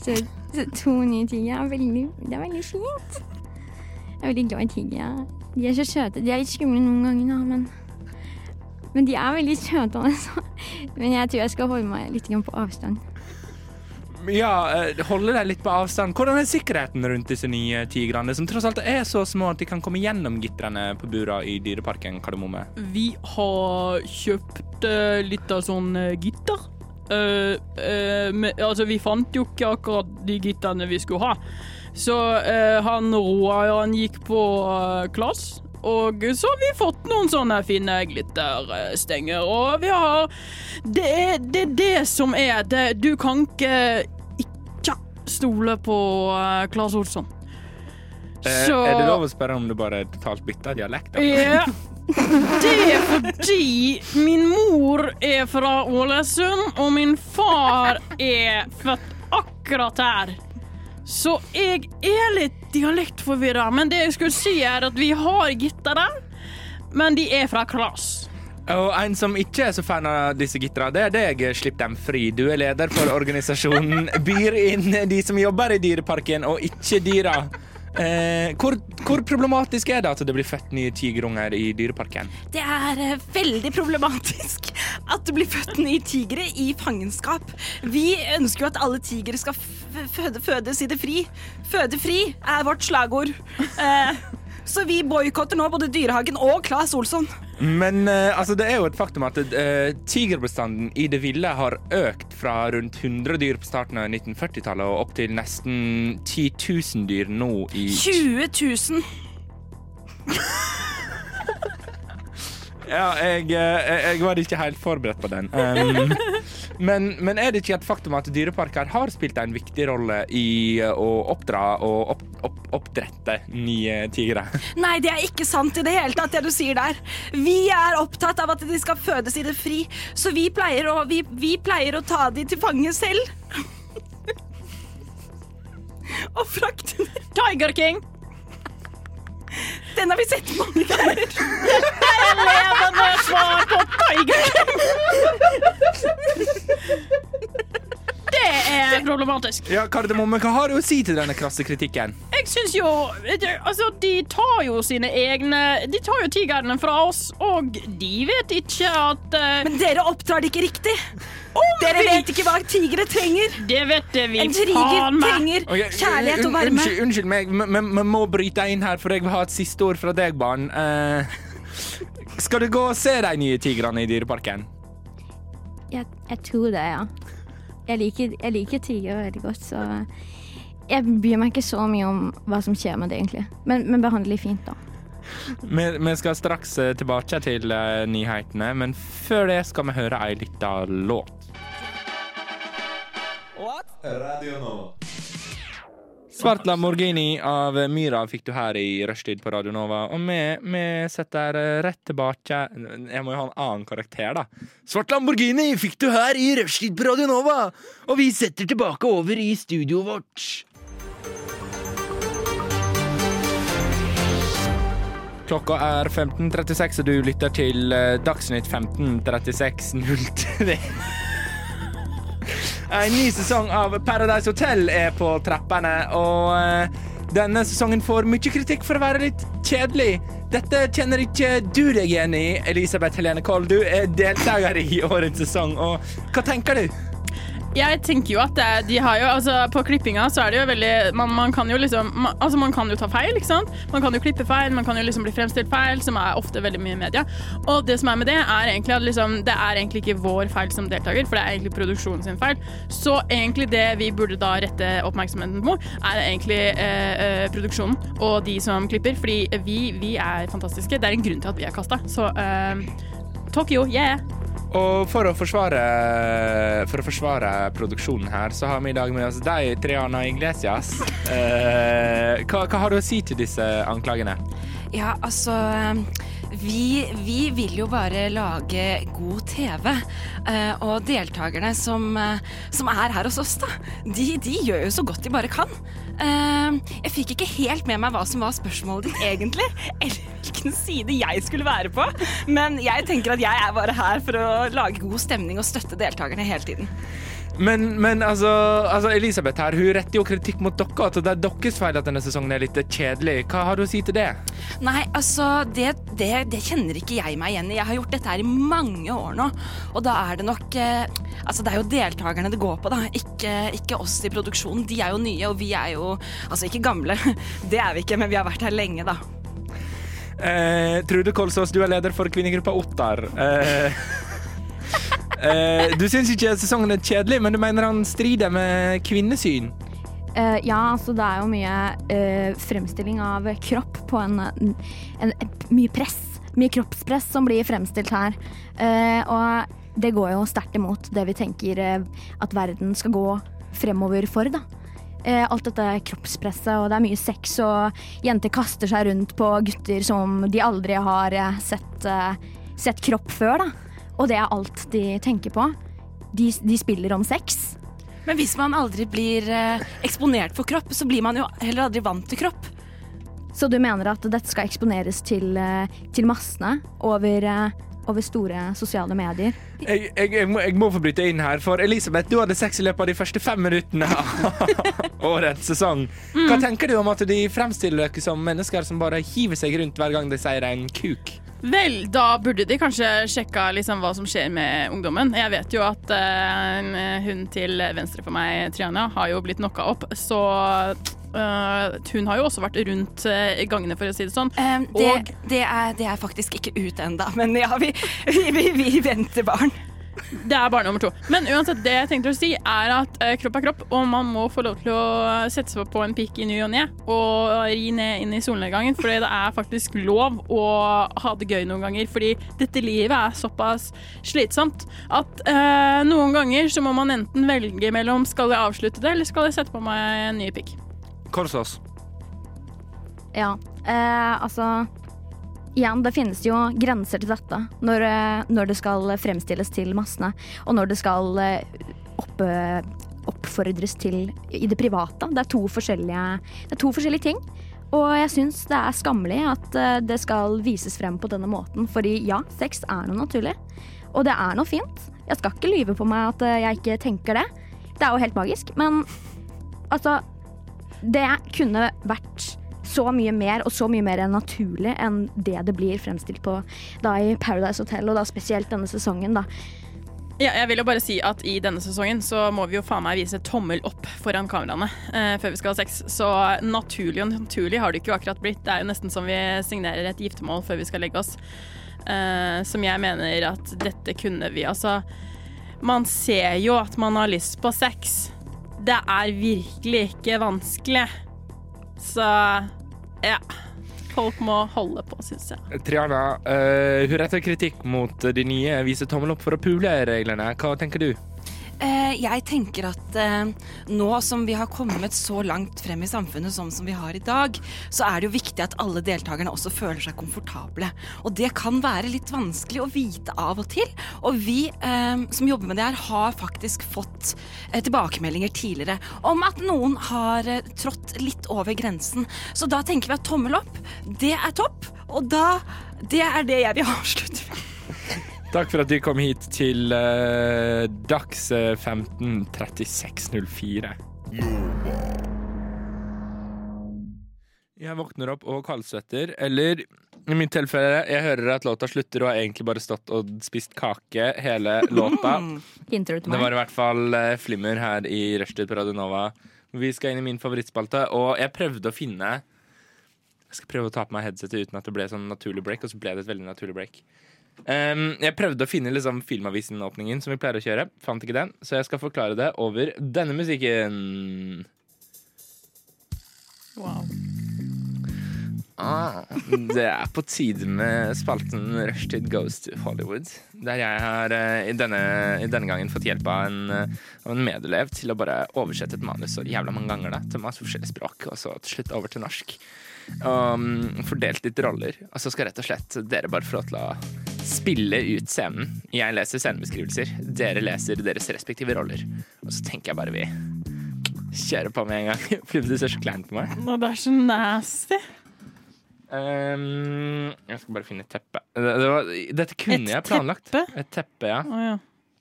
Speaker 5: Så, så to nye tigre er veldig, det er veldig fint. Jeg er veldig glad i tigre. De er så søte. De er litt skumle noen ganger, da, men, men de er veldig søte. Altså. Men jeg tror jeg skal holde meg litt grann på avstand.
Speaker 3: Ja, eh, holde deg litt på avstand. Hvordan er sikkerheten rundt disse nye tigrene, som tross alt er så små at de kan komme gjennom gitrene på bura i Dyreparken Kardemomme?
Speaker 4: Vi har kjøpt eh, litt av sånn eh, gitter. Eh, eh, men, altså, vi fant jo ikke akkurat de gitterne vi skulle ha. Så eh, han Roar han gikk på eh, klass, og så har vi fått noen sånne fine glitterstenger. Og vi har Det er det, er det som er det. Du kan ikke ikke stole på eh, Claes Olsson.
Speaker 3: Eh, Er det lov å spørre om du bare totalt bytter dialekt? da?
Speaker 4: Ja. Det er fordi min mor er fra Ålesund, og min far er født akkurat her. Så jeg er litt dialektforvirra, men det jeg skulle si, er at vi har gittere, men de er fra Klas.
Speaker 3: Og en som ikke er så fan av disse gittera, det er deg, Slipp dem fri. Du er leder for organisasjonen Byr inn de som jobber i dyreparken, og ikke dyra. Eh, hvor, hvor problematisk er det at det blir født nye tigerunger i dyreparken?
Speaker 6: Det er eh, veldig problematisk at det blir født nye tigre i fangenskap. Vi ønsker jo at alle tigre skal f- føde, fødes i det fri. Føde fri er vårt slagord. Eh, så vi boikotter nå både Dyrehagen og Claes Olsson.
Speaker 3: Men eh, altså, det er jo et faktum at eh, tigerbestanden i det ville har økt fra rundt 100 dyr på starten av 1940-tallet og opp til nesten 10 000 dyr nå i
Speaker 6: 20 000.
Speaker 3: Ja, jeg, eh, jeg var ikke helt forberedt på den. Um, men, men er det ikke et faktum at dyreparker har spilt en viktig rolle i eh, å oppdra og opp, opp, oppdrette nye tigre?
Speaker 6: Nei, det er ikke sant i det hele tatt, det du sier der. Vi er opptatt av at de skal fødes i det fri, så vi pleier å, vi, vi pleier å ta de til fange selv. Og frakte
Speaker 4: Tiger King!
Speaker 9: Den har vi sett mange ganger.
Speaker 4: Levende svar på Tiger! Det er problematisk.
Speaker 3: Ja, Kardemomme, hva har du å si til denne krasse kritikken?
Speaker 4: Jeg syns jo det- Altså, de tar jo sine egne De tar jo tigerne fra oss, og de vet ikke at eh,
Speaker 10: Men dere oppdrar det ikke riktig. Dere vet ikke hva tigre trenger.
Speaker 4: Det vet vi
Speaker 10: En tiger
Speaker 4: faen meg.
Speaker 10: trenger
Speaker 3: Ok, eh,
Speaker 10: kjærlighet og
Speaker 3: un-
Speaker 10: varme.
Speaker 3: Unnskyld, unnskyld meg, men- men men må bryte deg inn her, for jeg vil ha et siste ord fra deg, barn. Eh, skal du gå og se de nye tigrene i dyreparken?
Speaker 5: Jeg, jeg tror det, ja. Jeg liker, jeg liker tiger veldig godt, så jeg bryr meg ikke så mye om hva som skjer med det, egentlig. Men, men behandle de fint, da.
Speaker 3: Vi, vi skal straks eh, tilbake til eh, nyhetene, men før det skal vi høre ei lita låt. Svart Lamborghini av Myra fikk du her i rushtid på Radio Nova. Og vi, vi setter eh, rett tilbake Jeg må jo ha en annen karakter, da. Svart Lamborghini fikk du her i rushtid på Radio Nova! Og vi setter tilbake over i studioet vårt. Klokka er 15.36, og du lytter til eh, Dagsnytt 15.36.03. Eh, En ny sesong av Paradise Hotel er på trappene, og eh, denne sesongen får mye kritikk for å være litt kjedelig. Dette kjenner ikke du deg igjen i, Elisabeth Helene Koll. Du er deltaker i årets sesong, og hva tenker du?
Speaker 4: Jeg tenker jo at det, er- de har jo altså På klippinga så er det jo veldig Man, man kan jo liksom man, Altså man kan jo ta feil, ikke sant? Man kan jo klippe feil, man kan jo liksom bli fremstilt feil, som er ofte veldig mye i media. Og det som er med det, er egentlig at liksom Det er egentlig ikke vår feil som deltaker, for det er egentlig produksjonen sin feil. Så egentlig det vi burde da rette oppmerksomheten på, er egentlig eh, eh, produksjonen og de som klipper. Fordi vi, vi er fantastiske. Det er en grunn til at vi er kasta. Så eh, Tokyo, yeah!
Speaker 3: Og for å forsvare, for å forsvare produksjonen her, så har vi i dag med oss deg, Triana Iglesias. Eh, hva, hva har du å si til disse anklagene?
Speaker 6: Ja, altså vi, vi vil jo bare lage god TV. eh, Og deltakerne som, eh, som er her hos oss, da, de, de gjør jo så godt de bare kan. Eh, Jeg fikk ikke helt med meg hva som var spørsmålet ditt egentlig, eller hvilken side jeg skulle være på. Men jeg tenker at jeg er bare her for å lage god stemning og støtte deltakerne hele tiden.
Speaker 3: Men, men altså, altså, Elisabeth her, hun retter jo kritikk mot dere, at det er deres feil at denne sesongen er litt kjedelig. Hva har du å si til det?
Speaker 6: Nei, altså, det, det, det kjenner ikke jeg meg igjen i. Jeg har gjort dette her i mange år nå. Og da er det nok eh, Altså, det er jo deltakerne det går på, da. Ikke, ikke oss i produksjonen. De er jo nye, og vi er jo Altså, ikke gamle. Det er vi ikke, men vi har vært her lenge, da.
Speaker 3: Eh, Trude Kolsås, du er leder for kvinnegruppa Ottar. Eh, eh, du syns ikke sesongen er kjedelig, men du mener han strider med kvinnesyn.
Speaker 5: Eh, ja, altså det er jo mye eh, fremstilling av kropp på en, en, en Mye press. Mye kroppspress som blir fremstilt her. Eh, og det går jo sterkt imot det vi tenker eh, at verden skal gå fremover for, da. Eh, alt dette kroppspresset, og det er mye sex, og jenter kaster seg rundt på gutter som de aldri har eh, sett, eh, sett kropp før, da. Og det er alt de tenker på. De, de spiller om sex.
Speaker 6: Men hvis man aldri blir eh, eksponert for kropp, så blir man jo heller aldri vant til kropp.
Speaker 5: Så du mener at dette skal eksponeres til, eh, til massene over, eh, over store sosiale medier?
Speaker 3: Jeg, jeg, jeg, må, jeg må få bryte inn her, for Elisabeth, du hadde sex i løpet av de første fem minuttene av årets sesong. Hva tenker du om at de fremstiller dere som mennesker som bare hiver seg rundt hver gang de sier en kuk?
Speaker 4: Vel, da burde de kanskje sjekka liksom hva som skjer med ungdommen. Jeg vet jo at eh, hun til venstre for meg, Triana, har jo blitt knocka opp, så eh, hun har jo også vært rundt eh, gangene, for å si det sånn.
Speaker 6: Eh, det,
Speaker 4: Og-
Speaker 6: det, er, det er faktisk ikke ut ennå, men ja, vi, vi, vi, vi venter barn.
Speaker 4: Det er barn nummer to. Men uansett, det jeg tenkte å si, er at eh, kropp er kropp, og man må få lov til å eh, sette seg på en pikk i ny og ne, og ri ned inn i solnedgangen, for det er faktisk lov å ha det gøy noen ganger, fordi dette livet er såpass slitsomt at eh, noen ganger så må man enten velge mellom skal jeg avslutte det, eller skal jeg sette på meg en ny pikk.
Speaker 3: Kolsås.
Speaker 5: Ja, eh, altså Igjen, det finnes jo grenser til dette. Når, eh, når det skal fremstilles til massene, og når det skal eh, opp, eh, oppfordres til i det private. Det er to forskjellige, det er to forskjellige ting. Og jeg syns det er skammelig at eh, det skal vises frem på denne måten, fordi ja, sex er noe naturlig. Og det er noe fint. Jeg skal ikke lyve på meg at eh, jeg ikke tenker det. Det er jo helt magisk. Men altså Det kunne vært så mye mer og så mye mer naturlig enn det det blir fremstilt på da i Paradise Hotel, og da spesielt denne sesongen, da.
Speaker 4: Ja, jeg vil jo bare si at i denne sesongen så må vi jo faen meg vise tommel opp foran kameraene eh, før vi skal ha sex. Så naturlig og naturlig har det ikke akkurat blitt. Det er jo nesten som vi signerer et giftermål før vi skal legge oss. Eh, som jeg mener at dette kunne vi. Altså, man ser jo at man har lyst på sex. Det er virkelig ikke vanskelig. Så ja. Folk må holde på, syns jeg.
Speaker 3: Triana, eh, hun retter kritikk mot de nye viser tommel opp for å pule reglene. Hva tenker du?
Speaker 6: Eh, jeg tenker at eh, nå som vi har kommet så langt frem i samfunnet som, som vi har i dag, så er det jo viktig at alle deltakerne også føler seg komfortable. Og det kan være litt vanskelig å vite av og til. Og vi eh, som jobber med det her, har faktisk fått eh, tilbakemeldinger tidligere om at noen har eh, trådt litt over grensen. Så da tenker vi at tommel opp, det er topp. Og da Det er det jeg vil avslutte med.
Speaker 3: Takk for at du kom hit til eh, Dags eh, 15.36.04. Jeg våkner opp og kaldsvetter, eller i mitt tilfelle, jeg hører at låta slutter og har egentlig bare stått og spist kake hele låta.
Speaker 5: Hinter du til
Speaker 3: Det
Speaker 5: meg?
Speaker 3: var i hvert fall eh, flimmer her i Rushtid på Radio Nova. Vi skal inn i min favorittspalte, og jeg prøvde å finne Jeg skal prøve å ta på meg headsetet uten at det ble sånn naturlig break, og så ble det et veldig naturlig break. Um, jeg prøvde å finne liksom, Filmavisen-åpningen som vi pleier å kjøre. Fant ikke den, så jeg skal forklare det over denne musikken.
Speaker 4: Wow.
Speaker 3: Ah, det er på tide med spalten Rushtid goes to Hollywood. Der jeg har eh, i denne, i denne gangen fått hjelp av en, eh, av en medelev til å bare oversette et manus så jævla mange ganger da, til masse forskjellige språk, og så til slutt over til norsk. Um, fordelt litt roller, og så skal rett og slett dere bare få lov til å spille ut scenen. Jeg leser scenebeskrivelser, dere leser deres respektive roller. Og så tenker jeg bare vi kjører på med en gang, fordi du ser så klein på meg.
Speaker 4: Nå, det er så nasty.
Speaker 3: Ehm, jeg skal bare finne et teppe. Det, det var, dette kunne
Speaker 4: Et
Speaker 3: jeg planlagt.
Speaker 4: teppe?
Speaker 3: Et teppe, ja.
Speaker 4: Å ja.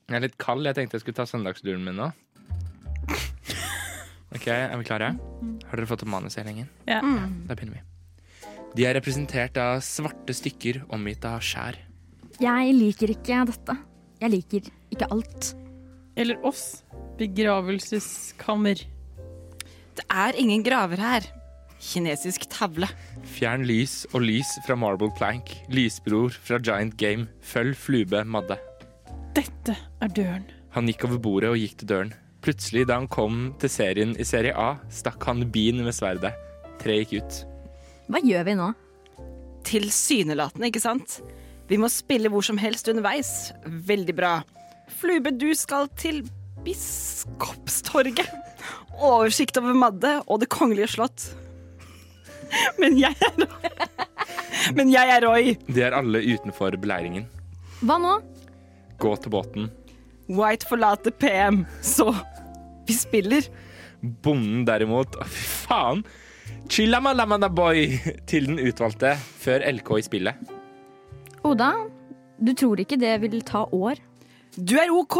Speaker 3: Jeg er litt kald. Jeg tenkte jeg skulle ta søndagsduren min nå. OK, er vi klare? Har dere fått opp manuset lenge?
Speaker 4: Ja.
Speaker 3: Da begynner vi. De er representert av svarte stykker omgitt av skjær.
Speaker 5: Jeg liker ikke dette. Jeg liker ikke alt.
Speaker 4: Eller oss. Begravelseskammer.
Speaker 6: Det er ingen graver her. Kinesisk tavle.
Speaker 3: Fjern lys og lys fra Marble Plank. Lysbror fra Giant Game. Følg Flube Madde.
Speaker 4: Dette er døren.
Speaker 3: Han gikk over bordet og gikk til døren. Plutselig, da han kom til serien i serie A, stakk han bien med sverdet. Tre gikk ut.
Speaker 5: Hva gjør vi nå?
Speaker 6: Tilsynelatende, ikke sant? Vi må spille hvor som helst underveis. Veldig bra. Flube, du skal til Biskopstorget. Oversikt over Madde og Det kongelige slott. Men jeg er Roy. Men jeg er Roy.
Speaker 3: De er alle utenfor beleiringen.
Speaker 5: Hva nå?
Speaker 3: Gå til båten.
Speaker 6: White forlater PM. Så vi spiller.
Speaker 3: Bonden derimot Å, Fy faen! Chillamalamandaboy til den utvalgte før LK i spillet.
Speaker 5: Oda, du tror ikke det vil ta år?
Speaker 6: Du er OK.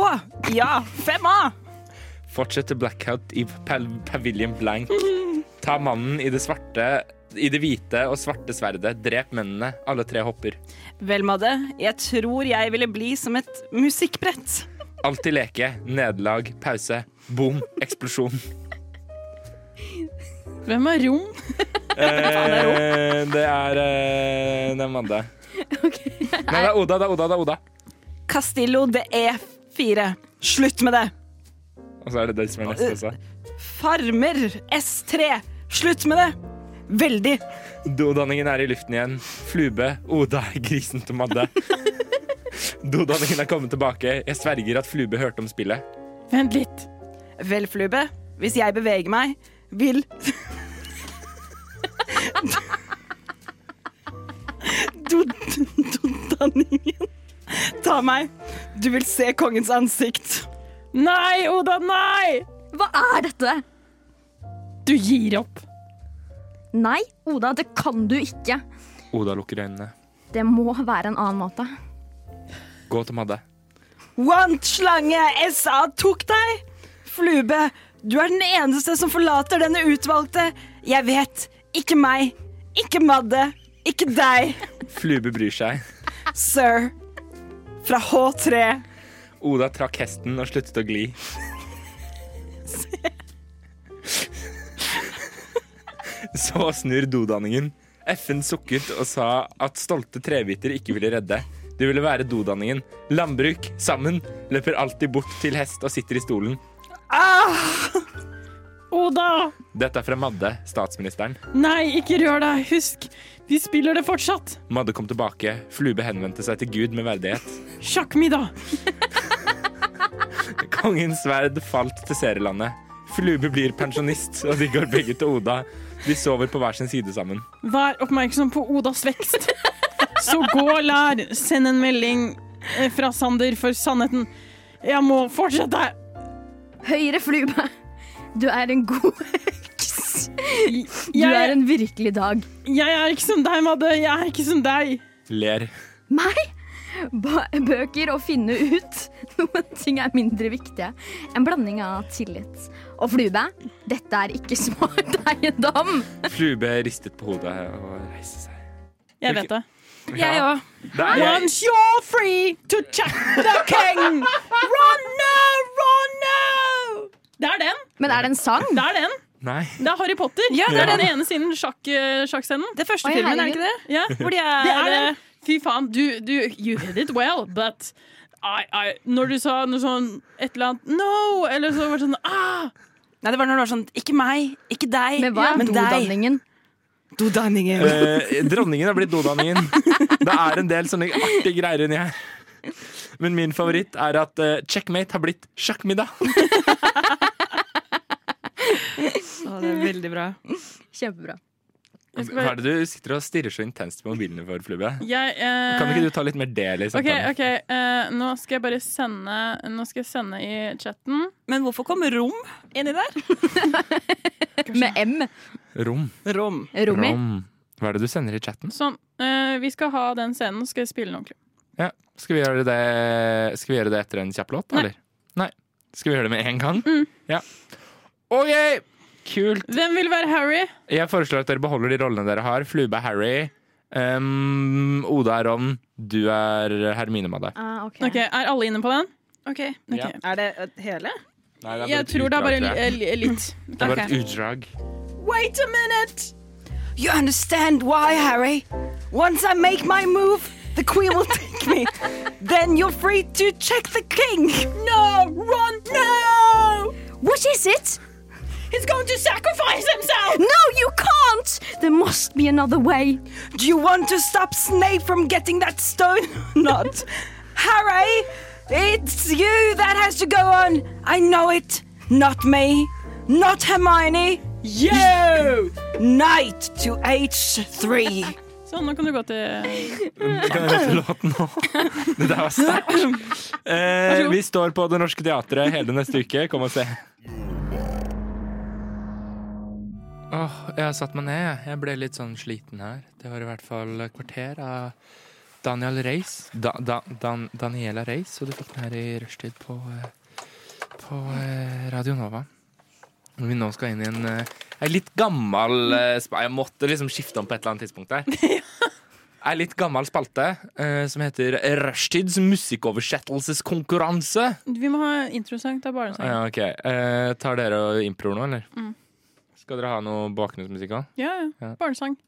Speaker 6: Ja, fem A.
Speaker 3: Fortsett til blackout i pa- Pavilion Blank. Ta mannen i det svarte I det hvite og svarte sverdet. Drep mennene. Alle tre hopper.
Speaker 6: Vel, Madde, jeg tror jeg ville bli som et musikkbrett.
Speaker 3: Alltid leke. Nederlag. Pause. Boom. Eksplosjon.
Speaker 4: Hvem er Rom?
Speaker 3: Eh, det er eh, Det er Madde. Nei, det er Oda. Det er Oda. Det er Oda.
Speaker 6: Castillo, det er fire. Slutt med det.
Speaker 3: Og så er det det som er neste også.
Speaker 6: Farmer S3. Slutt med det! Veldig.
Speaker 3: Dodanningen er i luften igjen. Flube, Oda er grisen til Madde. Dodanningen er kommet tilbake. Jeg sverger at Flube hørte om spillet.
Speaker 4: Vent litt.
Speaker 6: Vel, Flube, hvis jeg beveger meg, vil Dodanningen ta meg. Du vil se kongens ansikt.
Speaker 4: Nei, Oda, nei!
Speaker 5: Hva er dette?
Speaker 4: Du gir opp.
Speaker 5: Nei, Oda, det kan du ikke.
Speaker 3: Oda lukker øynene.
Speaker 5: Det må være en annen måte.
Speaker 3: Gå til Madde.
Speaker 6: Want slange, SA tok deg! Flube, du er den eneste som forlater denne utvalgte. Jeg vet. Ikke meg. Ikke Madde. Ikke deg,
Speaker 3: Flube bryr seg.
Speaker 6: sir. Fra H3.
Speaker 3: Oda trakk hesten og sluttet å gli. Så snur dodanningen. FN sukket og sa at stolte trebiter ikke ville redde. Det ville være dodanningen. Landbruk, sammen, løper alltid bort til hest og sitter i stolen.
Speaker 4: Oda!
Speaker 3: Dette er fra Madde, statsministeren.
Speaker 4: Nei, ikke rør deg. Husk, vi spiller det fortsatt.
Speaker 3: Madde kom tilbake. Flube henvendte seg til Gud med verdighet.
Speaker 4: Sjakkmiddag.
Speaker 3: Kongens sverd falt til serielandet. Flube blir pensjonist, og de går begge til Oda. De sover på hver sin side sammen.
Speaker 4: Vær oppmerksom på Odas vekst. Så gå og lær. Send en melding eh, fra Sander for sannheten. Jeg må fortsette.
Speaker 5: Høyre flube, du er en god heks. Du er en virkelig dag.
Speaker 4: Jeg er ikke som deg, Madde. Jeg er ikke som deg.
Speaker 3: Ler.
Speaker 5: Meg? Ba- Bøker og finne ut. Noen ting er mindre viktige. En blanding av tillit. Og flube, dette er ikke smart eiendom.
Speaker 3: Flube ristet på hodet og reiste seg.
Speaker 4: Jeg vet det.
Speaker 11: Jeg òg.
Speaker 3: Det er jeg.
Speaker 4: Once you're free to check the king. Run now, run now! Det er den.
Speaker 5: Men er det en sang?
Speaker 4: Det er den.
Speaker 3: Nei.
Speaker 4: Det er Harry Potter.
Speaker 11: Ja,
Speaker 4: det er
Speaker 3: Ja.
Speaker 4: den ene siden sjakk, eh, sjakkscenen.
Speaker 6: Det første
Speaker 5: Oi,
Speaker 6: filmen, er det
Speaker 5: herregud.
Speaker 6: ikke det?
Speaker 4: Ja.
Speaker 11: Hvor de er,
Speaker 4: Det er den. Fy faen, du, du You hit it well, but I, I, Når du sa noe sånn et eller annet No! Eller så var det sånn ah!
Speaker 6: Nei, det var når det var sånn Ikke meg, ikke deg,
Speaker 5: Men hva er
Speaker 6: men deg.
Speaker 5: dodanningen?
Speaker 6: Dodanningen.
Speaker 3: Eh, dronningen har blitt dodanningen. Det er en del sånne artige greier inni her. Men min favoritt er at eh, checkmate har blitt sjakkmiddag.
Speaker 11: det er veldig bra.
Speaker 5: Kjempebra.
Speaker 3: Hva er det du sitter og stirrer så intenst på mobilen for, Flube?
Speaker 4: Jeg eh,
Speaker 3: Kan ikke du ta litt mer liksom? Sånn. del i samtalen?
Speaker 4: OK, ok, eh, nå skal jeg bare sende Nå skal jeg sende i chatten.
Speaker 6: Men hvorfor kom rom inni der?
Speaker 5: Med M.
Speaker 3: Rom.
Speaker 6: Rom.
Speaker 5: Romi.
Speaker 3: Rom. Hva er det du sender i chatten?
Speaker 4: Sånn. eh, vi skal ha den scenen, så skal jeg spille den ordentlig.
Speaker 3: Ja. Skal vi gjøre det, skal vi gjøre det etter en kjapp låt,
Speaker 4: Nei. Mm.
Speaker 3: eller? Nei. Skal vi gjøre det med en gang? Ja. OK! Kult.
Speaker 4: Hvem vil være Harry?
Speaker 3: Jeg foreslår at dere beholder de rollene dere har. Flube er Harry. Um, Oda er Ron. Du er Hermine Madde.
Speaker 5: Ah, ok.
Speaker 4: Ok, Er alle inne på den?
Speaker 6: Ok.
Speaker 3: Ja.
Speaker 4: Ok.
Speaker 6: Er det hele?
Speaker 4: Jeg tror det er bare li- li- eh, litt.
Speaker 3: Det er bare et utdrag.
Speaker 6: Wait a minute!
Speaker 12: You understand
Speaker 6: Why, Harry? Once I make my move, the queen will take me. Then you're free to check the king. No, run, no!
Speaker 5: What is it?
Speaker 6: He's going to sacrifice himself!
Speaker 5: No, you can't! There must be another way.
Speaker 6: Do you want to stop Snape from getting that stone or not? Harry, it's you that has to go on. I know it. Not me. Not Hermione. You! Knight to H3.
Speaker 4: Sånn, nå kan du gå til
Speaker 3: Kan jeg høre låten nå? Det der var sterkt. Eh, vi står på Det Norske Teatret hele neste uke. Kom og se. Åh, jeg har satt meg ned. jeg. Jeg ble litt sånn sliten her. Det var i hvert fall et kvarter av Daniel Reis. Da, da, Dan, Daniela Reis, og du fikk den her i rushtid på, eh, på eh, Radio Nova. Når vi nå skal inn i en, eh, en litt gammel eh, spa. Jeg måtte liksom skifte om på et eller annet tidspunkt der er litt gammel spalte eh, som heter Rushtids musikkoversettelseskonkurranse.
Speaker 4: Vi må ha introsang til
Speaker 3: Ah,
Speaker 4: barnesang.
Speaker 3: Ja, ok. Eh, tar dere og improer nå, eller? Skal dere ha noe bakgrunnsmusikk òg?
Speaker 4: Ja, ja.
Speaker 3: Ja.
Speaker 4: Barnesang.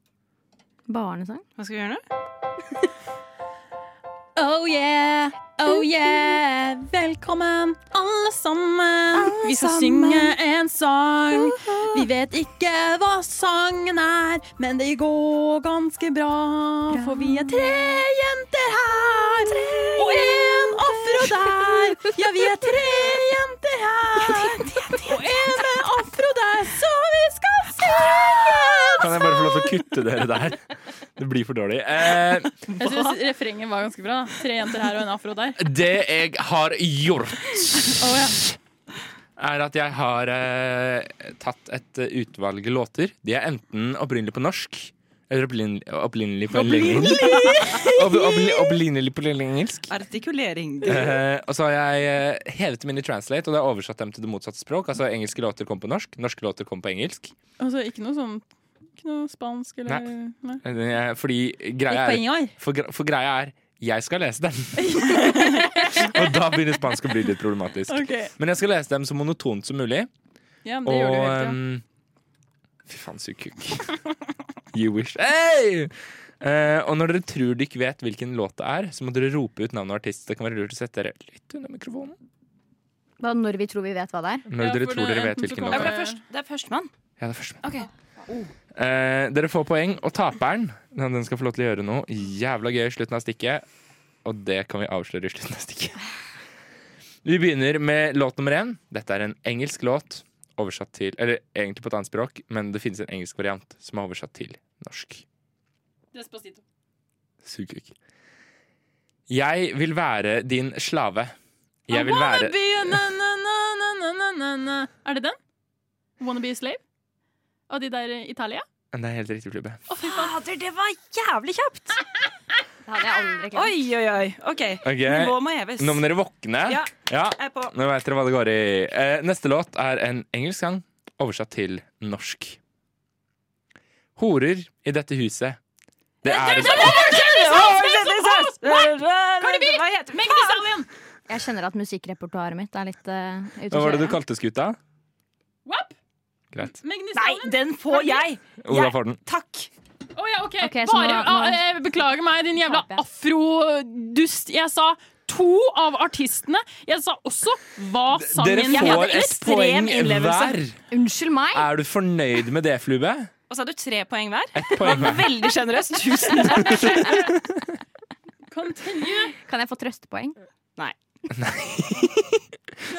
Speaker 5: Barnesang?
Speaker 11: Hva skal vi gjøre nå?
Speaker 4: Oh yeah, oh yeah. Velkommen, alle sammen. vi skal synge en sang. Vi vet ikke hva sangen er, men det går ganske bra. For vi er tre jenter her, og en afro der. Ja, vi er tre jenter her, og en med afro der, så vi skal synge.
Speaker 3: Kan jeg bare få lov til å kutte dere der? Det blir for dårlig. Eh,
Speaker 4: Jeg syns refrenget var ganske bra. da. Tre jenter her og en afro der.
Speaker 3: det jeg har gjort
Speaker 4: Å ja.
Speaker 3: er at jeg har eh, tatt et eh, utvalg låter. De er enten opprinnelig på norsk eller opprinnelig, opprinnelig på
Speaker 6: Opprinnelig!
Speaker 3: Opp- opprinnelig- Opprinnelig på engelsk.
Speaker 6: Artikulering.
Speaker 3: Eh, og så har jeg eh, hevet dem inn i translate og da har jeg oversatt dem til det motsatte språk. Altså Engelske låter kom på norsk, norske låter kom på engelsk.
Speaker 4: Altså, ikke noe sånn Ikke noe spansk eller
Speaker 3: Nei.
Speaker 4: Nei.
Speaker 3: Eh, Fordi greia
Speaker 4: Ikke på en gang.
Speaker 3: er, for, gra- for greia er jeg skal lese dem. og da begynner spansk å bli litt problematisk.
Speaker 4: Ok.
Speaker 3: Men jeg skal lese dem så monotont som mulig.
Speaker 4: Ja, men det gjør du jo hele tiden.
Speaker 3: ehm, Fy faen, sug kuk. You wish. Hey! Eh, og når dere tror dere ikke vet hvilken låt det er, så må dere rope ut navnet og artist. Det kan være lurt å sette dere litt under mikrofonen.
Speaker 5: Hva, når vi tror vi vet hva det er.
Speaker 3: Når dere tror dere vet hvilken låt det er.
Speaker 6: Det er førstemann.
Speaker 3: Ja, det er første.
Speaker 6: Ok.
Speaker 3: Eh, dere får poeng, og taperen ja, Den skal få lov til å gjøre noe jævla gøy i slutten av stikket. Og det kan vi avsløre i slutten av stikket. Vi begynner med låt nummer én. Dette er en engelsk låt oversatt til Eller egentlig på et annet språk, men det finnes en engelsk variant som er oversatt til norsk.
Speaker 4: Despacito.
Speaker 3: Sugkuk. Jeg vil være din slave. Jeg vil
Speaker 4: Wanna
Speaker 3: være
Speaker 4: be a na, na, na, na, na, na, na, na. Er det den? Wanna be a slave? Av de der i Italia?
Speaker 3: Det er helt riktig, Flubbe.
Speaker 4: Å, fy fader, det var jævlig kjapt!
Speaker 5: Det hadde jeg aldri
Speaker 6: Oi, oi, oi. OK.
Speaker 3: Ok,
Speaker 6: Nivå må heves.
Speaker 3: Eh, Nå må dere våkne.
Speaker 6: Ja,
Speaker 3: Ja.
Speaker 6: jeg er på.
Speaker 3: Nå vet dere hva det går i. Eh, neste låt er en engelsk sang oversatt til norsk. Horer i dette huset. Det er
Speaker 6: er Hva er heter Mengde Stalin!
Speaker 5: Jeg kjenner at musikkrepertoaret mitt er litt uh, ute
Speaker 3: Hva
Speaker 5: å
Speaker 3: var det du
Speaker 5: kjøre.
Speaker 3: kalte skuta?
Speaker 4: Wap!
Speaker 3: Greit.
Speaker 6: Nei, den får jeg!
Speaker 3: Ola får den.
Speaker 6: Takk.
Speaker 4: Å ja, OK.
Speaker 5: Ok, så nå-
Speaker 4: Bare
Speaker 5: nå-
Speaker 4: ah, eh, Beklager meg, din jævla
Speaker 5: Taper jeg.
Speaker 4: afrodust. Jeg sa to av artistene. Jeg sa også hva
Speaker 3: Dere
Speaker 4: sangen
Speaker 6: hadde
Speaker 3: får et
Speaker 6: ekstrem
Speaker 3: poeng
Speaker 6: innlevelse.
Speaker 3: hver.
Speaker 5: Unnskyld meg!
Speaker 3: Er du fornøyd med det, Flube?
Speaker 6: Og så hadde du tre poeng hver.
Speaker 3: Ett poeng hver.
Speaker 6: Veldig sjenerøst. Tusen takk.
Speaker 4: Continue.
Speaker 5: Kan jeg få trøstepoeng?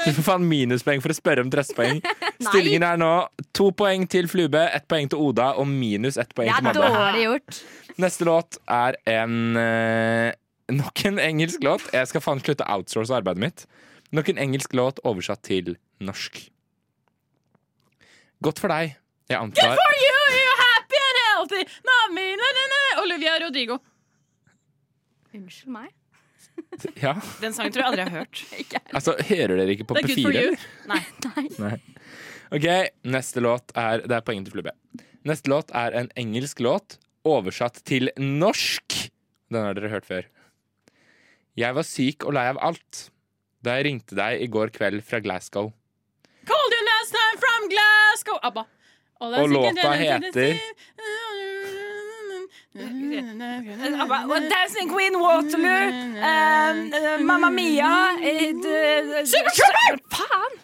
Speaker 3: Du får faen minuspoeng for å spørre om trøstepoeng. Stillingen er nå to poeng til Flube, ett poeng til Oda og minus ett poeng
Speaker 5: Det
Speaker 3: til
Speaker 5: er
Speaker 3: Madde.
Speaker 5: dårlig gjort.
Speaker 3: Neste låt er en eh, Nok en engelsk låt. Jeg skal faen slutte å outsource arbeidet mitt. Nok en engelsk låt oversatt til norsk. Godt for deg. Jeg antar
Speaker 4: For you, you're happy and healthy. Nami, na, na, na. Olivia Rodrigo.
Speaker 5: Unnskyld meg.
Speaker 3: ja.
Speaker 6: Den sangen tror jeg aldri jeg har hørt.
Speaker 3: Altså, hører dere ikke på
Speaker 4: Det er good for
Speaker 3: P4?
Speaker 4: you.
Speaker 3: Ok, neste låt er Det er poeng til Flubbe. Neste låt er en engelsk låt oversatt til norsk. Den har dere hørt før. Jeg var syk og lei av alt da jeg ringte deg i går kveld fra Glasgow.
Speaker 4: Called you last time from Glasgow. ABBA. All I
Speaker 3: Og
Speaker 4: think
Speaker 3: låta
Speaker 4: I did, I did, I did.
Speaker 3: heter-
Speaker 6: ABBA. Og Dancing Queen Waterloo. eh, eh, Mamma Mia. Supertrooper! Faen!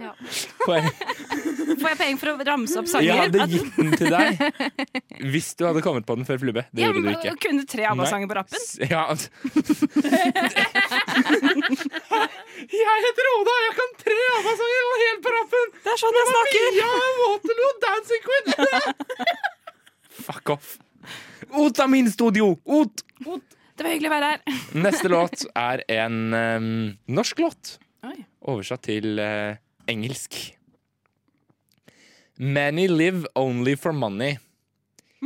Speaker 3: Poeng.
Speaker 6: Får jeg poeng for å ramse opp sanger?
Speaker 3: Jeg hadde
Speaker 6: At-
Speaker 3: gitt den til deg hvis du hadde kommet på den før Flubbe. Det
Speaker 6: Ja,
Speaker 3: gjorde du
Speaker 6: men
Speaker 3: ikke.
Speaker 6: Kunne tre ABBA-sanger på rappen?
Speaker 3: S- Ja, altså. jeg heter Oda, jeg kan tre ABBA-sanger og helt på rappen!
Speaker 6: Det er sånn jeg snakker!
Speaker 3: Ja, Waterloo, Dancing Queen! Fuck off. Ot er min studio! Ot!
Speaker 6: Det var hyggelig å være her.
Speaker 3: Neste låt er en eh, norsk låt.
Speaker 6: Oi.
Speaker 3: Oversatt til eh, engelsk. Many live only for money.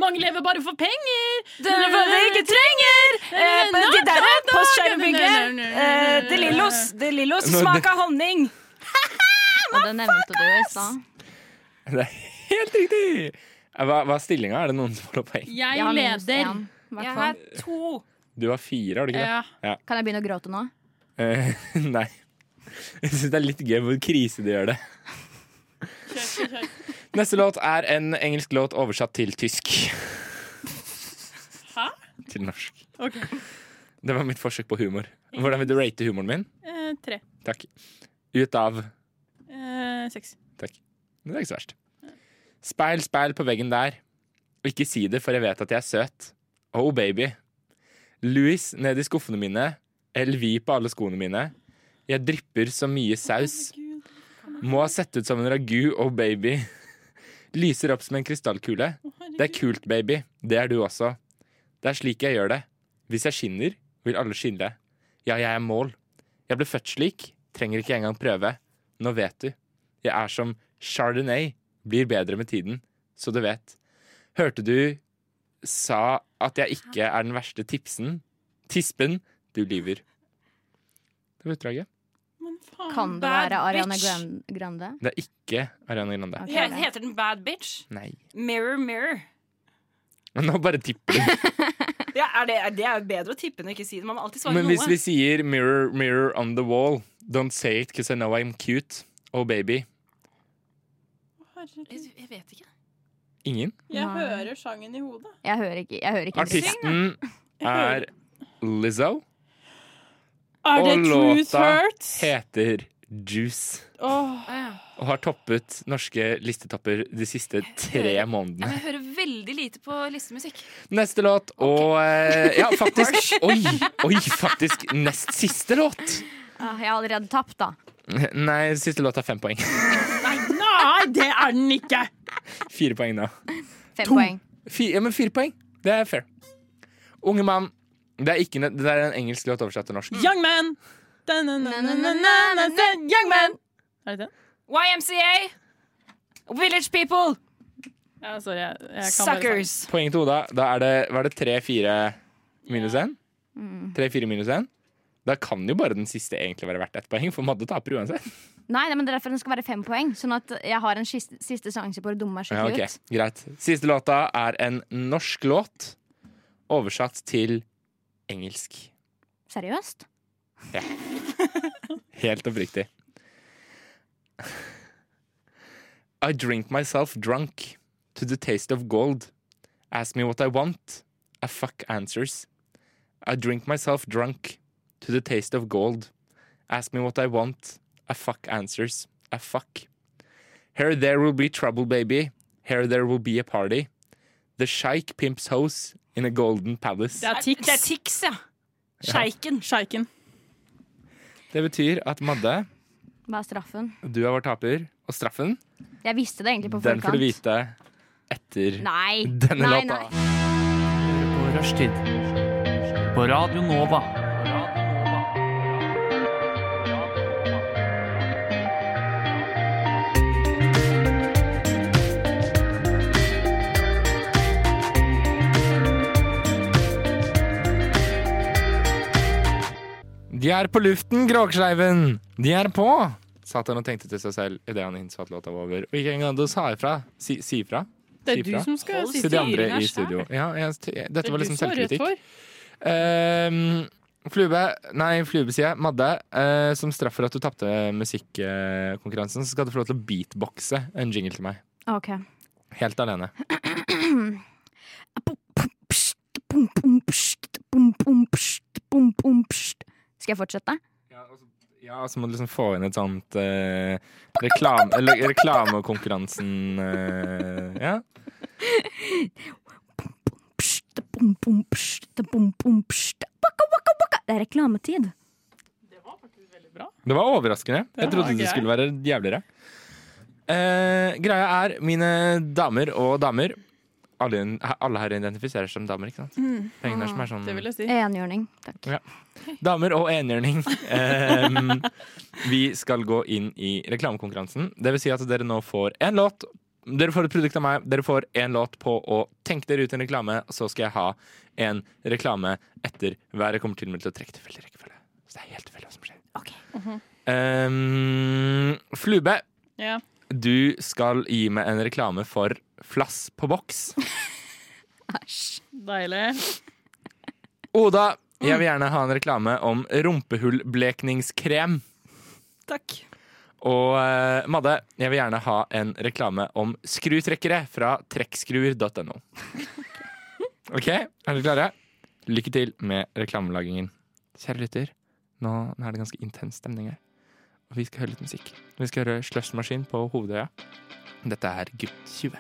Speaker 4: Mange lever bare for penger.
Speaker 6: Den var det ikke trenger! Eh, men de der er på skjermbygget. Eh, De Lillos. De Lillos
Speaker 3: Nå, det-
Speaker 6: smak av honning.
Speaker 5: Og det nevnte du i stad.
Speaker 3: Det er helt riktig! Hva, hva er stillinga? Er det noen som får poeng?
Speaker 4: Jeg,
Speaker 5: Jeg har minus
Speaker 4: leder.
Speaker 5: én, i hvert
Speaker 6: Jeg
Speaker 5: fall.
Speaker 6: har to.
Speaker 3: Du har fire, har du ikke det?
Speaker 4: Ja.
Speaker 5: Kan jeg begynne å gråte nå?
Speaker 3: Eh, nei. Jeg syns det er litt gøy hvor krise de gjør det. Neste låt er en engelsk låt oversatt til tysk.
Speaker 4: Hæ?
Speaker 3: Til norsk.
Speaker 4: Ok.
Speaker 3: Det var mitt forsøk på humor. Hvordan vil du rate humoren min?
Speaker 4: Eh, tre.
Speaker 3: Takk. Ut av
Speaker 4: Eh, seks.
Speaker 3: Det er ikke så verst. Speil, speil på veggen der. Ikke si det, for jeg vet at jeg er søt. Oh, baby. Louis ned i skuffene mine. Elvi på alle skoene mine. Jeg drypper så mye saus. Må ha sett ut som en ragu, oh, baby. Lyser opp som en krystallkule. Det er kult, baby. Det er du også. Det er slik jeg gjør det. Hvis jeg skinner, vil alle skinne. Ja, jeg er mål. Jeg ble født slik. Trenger ikke engang prøve. Nå vet du. Jeg er som Chardonnay. Blir bedre med tiden, så du vet. Hørte du sa at jeg ikke er den verste tipsen? Tispen, du lyver. Det var utdraget.
Speaker 5: Kan det
Speaker 6: Bad
Speaker 5: være Ariana
Speaker 6: bitch.
Speaker 5: Gran- Grande?
Speaker 3: Det er ikke Ariana Grande.
Speaker 5: Ok.
Speaker 6: He- Heter den Bad Bitch?
Speaker 3: Nei.
Speaker 6: Mirror, mirror.
Speaker 3: Men nå bare tipper du.
Speaker 6: Ja, er det, er det er jo bedre å tippe enn å ikke si det. Man må alltid svare
Speaker 3: Men
Speaker 6: noe.
Speaker 3: hvis vi sier 'mirror, mirror on the wall', 'don't say it cause I know I'm cute', oh baby
Speaker 6: Jeg, jeg vet ikke.
Speaker 3: Ingen.
Speaker 4: Jeg
Speaker 5: Nei.
Speaker 4: hører sangen i hodet.
Speaker 5: Jeg hører ikke, jeg hører ikke
Speaker 3: Artisten er
Speaker 4: hører.
Speaker 3: Lizzo,
Speaker 4: Er det
Speaker 3: og
Speaker 4: Truth
Speaker 3: låta
Speaker 4: Hurts?
Speaker 3: heter Juice.
Speaker 4: Åh,
Speaker 3: Og har toppet norske listetopper de siste tre
Speaker 6: Ja, men
Speaker 3: månedene.
Speaker 6: jeg hører veldig lite på listemusikk.
Speaker 3: Neste låt og eh, Ja, faktisk. Oi, oi, faktisk nest siste låt.
Speaker 5: Ah, jeg har allerede tapt, da.
Speaker 3: Nei, siste låt er fem poeng.
Speaker 4: nei, nei, det er den ikke!
Speaker 3: Fire poeng nå.
Speaker 5: Fem
Speaker 3: To.
Speaker 5: poeng.
Speaker 3: Fi- ja, men fire poeng. Det er fair. Unge mann. Det er, ikke, nød- det er en engelsk låt oversatt til norsk.
Speaker 4: Young man! Da-na-na-na-na-na-na, Young man! Er det den?
Speaker 6: YMCA! Village People!
Speaker 4: Ja, sorry. Jeg, jeg kan bare sangen.
Speaker 6: Suckers!
Speaker 3: Poeng til Oda. Da er det, var det tre-fire minus én?
Speaker 6: Mm.
Speaker 3: Tre-fire minus én? Da kan jo bare den siste egentlig være verdt ett poeng, for Madde taper uansett.
Speaker 5: Nei, nei, men det er derfor den skal være fem poeng. Sånn at jeg har en siste, siste sjanse på å dumme meg
Speaker 3: Ja,
Speaker 5: skikkelig
Speaker 3: ok, greit. Siste låta er en norsk låt oversatt til engelsk.
Speaker 5: ut. Seriøst?
Speaker 3: Helt oppriktig. I drink myself drunk to the taste of gold. Ask me what I want. I fuck answers. I drink myself drunk to the taste of gold. Ask me what I want. I fuck answers. I fuck. Here there will be trouble, baby. Here there will be a party. The sheik pimps hoes in a golden palace.
Speaker 4: Det er Tix.
Speaker 6: Det er Tix, ja. Sjeiken.
Speaker 4: Sjeiken.
Speaker 3: Det betyr at Madde,
Speaker 5: Hva er straffen?
Speaker 3: du er vår taper, og straffen
Speaker 5: Jeg visste det egentlig på
Speaker 3: Den
Speaker 5: forkant.
Speaker 3: får du vite etter
Speaker 5: Nei.
Speaker 3: denne
Speaker 5: nei,
Speaker 3: låta.
Speaker 5: Nei.
Speaker 13: På rushtid. På Radio Nova.
Speaker 3: De er på luften, Gråkleiven! De er på! Satan og tenkte til seg selv idet han innså at låta var over. Og ikke engang da sa jeg fra. Si, si fra.
Speaker 4: Det er
Speaker 3: Si
Speaker 4: du
Speaker 3: fra.
Speaker 4: som skal si
Speaker 3: Til de andre
Speaker 6: styringa
Speaker 3: i
Speaker 6: selv.
Speaker 3: studio. Ja, jeg,
Speaker 4: Det
Speaker 3: dette
Speaker 4: er
Speaker 3: var
Speaker 4: du
Speaker 3: liksom
Speaker 4: som har rødt
Speaker 3: selvkritikk.
Speaker 4: hår.
Speaker 3: Ehm, flube, nei, Flube sier jeg. Madde, eh, som straff for at du tapte musikkonkurransen, så skal du få lov til å beatboxe en jingle til meg.
Speaker 5: Ok.
Speaker 3: Helt alene.
Speaker 5: Skal jeg fortsette?
Speaker 3: Ja, og så må du liksom få inn et sånt eh, reklame, eller reklamekonkurransen eh, Ja.
Speaker 5: Det er reklametid.
Speaker 3: Det var overraskende. Jeg
Speaker 4: var
Speaker 3: trodde det
Speaker 4: grei.
Speaker 3: skulle være jævligere. Eh, greia er, mine damer og damer Alle, alle her identifiserer seg som damer, ikke sant? Det er ingen her som er sånn
Speaker 4: Mm. Det vil jeg si.
Speaker 5: Enhjørning. Takk.
Speaker 3: Damer og enhjørning. Ehm, vi skal gå inn i reklamekonkurransen. Det vil si at dere nå får én låt. Dere får et produkt av meg. Dere får én låt på å tenke dere ut en reklame. Så skal jeg ha en reklame etter hver. Jeg kommer til og med til å trekke tilfeldig rekkefølge. Så det er helt tilfeldig hva som skjer. Ehm, Flube,
Speaker 4: Ja.
Speaker 3: du skal gi meg en reklame for flass på boks.
Speaker 4: Deilig.
Speaker 3: Oda, jeg vil gjerne ha en reklame om rumpehullblekningskrem.
Speaker 6: Takk.
Speaker 3: Og eh, Madde, jeg vil gjerne ha en reklame om skrutrekkere fra trekkskruer.no. OK, er dere klare? Lykke til med reklamelagingen. Kjære lytter, nå, nå er det ganske intens stemning her. Og vi skal høre litt musikk. Vi skal høre Slushmaskin på Hovedøya. Dette er Gutt 20.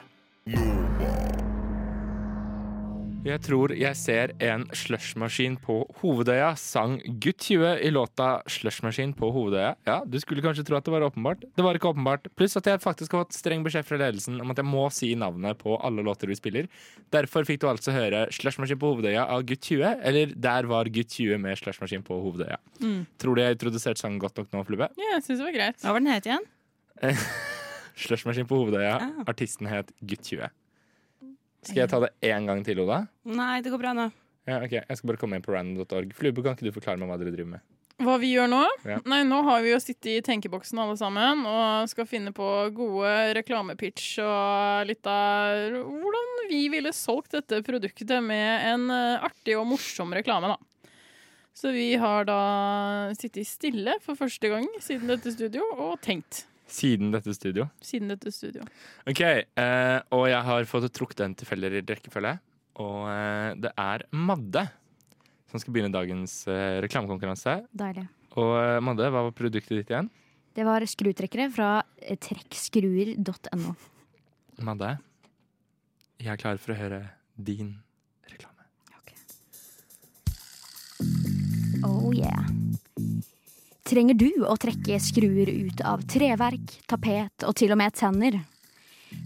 Speaker 3: Jeg tror jeg ser en slushmaskin på Hovedøya, sang Gutt 20 i låta Slushmaskin på Hovedøya. Ja, du skulle kanskje tro at det var åpenbart. Det var ikke åpenbart. Pluss at jeg faktisk har fått streng beskjed fra ledelsen om at jeg må si navnet på alle låter vi spiller. Derfor fikk du altså høre Slushmaskin på Hovedøya av Gutt 20, eller Der var Gutt 20 med Slushmaskin på Hovedøya. Tror du jeg introduserte sangen godt nok nå, Flubbe?
Speaker 4: Ja, jeg syns det var greit.
Speaker 6: Hva var den het igjen?
Speaker 3: Slush Machine på Hovedøya.
Speaker 6: Ah.
Speaker 3: Artisten het Gutt20. Skal jeg ta det én gang til, Oda?
Speaker 6: Nei, det går bra nå.
Speaker 3: Ja, ok, Jeg skal bare komme inn på random.org. Flube, kan ikke du forklare meg hva dere driver med?
Speaker 4: Hva vi gjør nå?
Speaker 3: Ja.
Speaker 4: Nei, nå har vi jo sittet i tenkeboksen alle sammen og skal finne på gode reklamepitch og litt av hvordan vi ville solgt dette produktet med en eh, artig og morsom reklame, da. Så vi har da sittet stille for første gang siden dette studio og tenkt
Speaker 3: Siden dette studio.
Speaker 4: siden dette studio.
Speaker 3: Ok, eh, Og jeg har fått trukket en tilfeldig rekkefølge. Og eh, det er Madde som skal begynne dagens eh, reklamekonkurranse.
Speaker 5: Deilig.
Speaker 3: Og eh, Madde, hva var produktet ditt igjen?
Speaker 5: Det var skrutrekkere fra eh, trekkskruer.no.
Speaker 3: Madde, jeg er klar for å høre din.
Speaker 5: Oh yeah. Trenger du å trekke skruer ut av treverk, tapet og til og med tenner?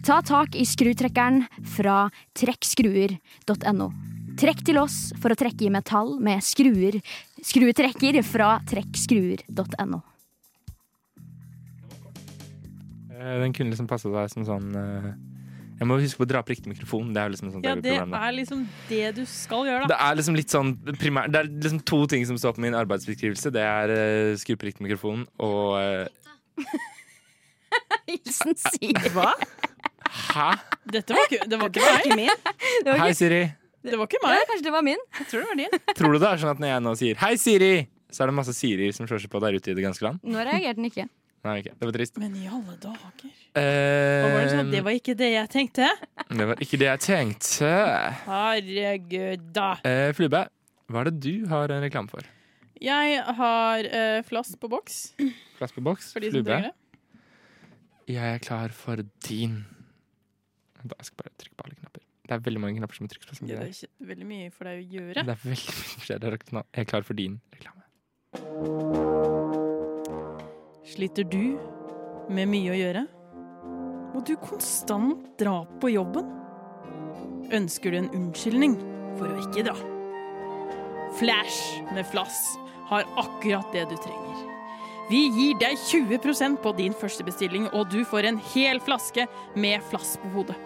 Speaker 5: Ta tak i skrutrekkeren fra trekkskruer.no. Trekk til oss for å trekke i metall med skruer, skruetrekker fra trekkskruer.no.
Speaker 3: Eh, den kunne liksom passe deg som sånn eh, Jeg må huske på å dra på riktig mikrofon. Det er jo liksom sånn
Speaker 4: Ja, det
Speaker 3: dagligprogram, da.
Speaker 4: er liksom det du skal gjøre,
Speaker 3: Det
Speaker 4: da.
Speaker 3: er liksom litt sånn primær, Det er liksom to ting som står på min arbeidsbeskrivelse. Det er uh, skru på riktig mikrofon og eh,
Speaker 5: Hilsen Siri.
Speaker 4: Hva?
Speaker 3: Hæ?
Speaker 4: Dette var ikke, det var ikke meg.
Speaker 3: Hei, Siri.
Speaker 4: Det var ikke meg.
Speaker 5: kanskje det var min.
Speaker 4: Jeg tror det var din.
Speaker 3: Tror du det er sånn at når jeg nå sier 'Hei, Siri', så er det masse Sirier som slår seg på der ute i det ganske land?
Speaker 5: Nå reagerte den ikke.
Speaker 3: Nei, ok, Det var trist.
Speaker 4: Men i alle dager.
Speaker 3: Eh,
Speaker 4: Og var det, sånn, det var ikke det jeg tenkte.
Speaker 3: det var ikke det jeg tenkte.
Speaker 4: Herregud, da.
Speaker 3: Eh, Flube, hva er det du har en reklame for?
Speaker 4: Jeg har eh, flass på boks.
Speaker 3: Plass på boks?
Speaker 4: For de som
Speaker 3: Flube?
Speaker 4: trenger det.
Speaker 3: Jeg er klar for din. Da jeg skal bare trykke på alle knapper. Det er veldig mange knapper som må trykkes på.
Speaker 4: Det
Speaker 3: samtidig.
Speaker 4: er ikke veldig mye for deg å gjøre.
Speaker 3: Det er veldig mye forskjellig. reklame. Jeg er klar for din reklame.
Speaker 4: Sliter du med mye å gjøre? Må du konstant dra på jobben? Ønsker du en unnskyldning for å ikke dra? Flash med flass har akkurat det du trenger. Vi gir deg 20 på din første bestilling, og du får en hel flaske med flass på hodet.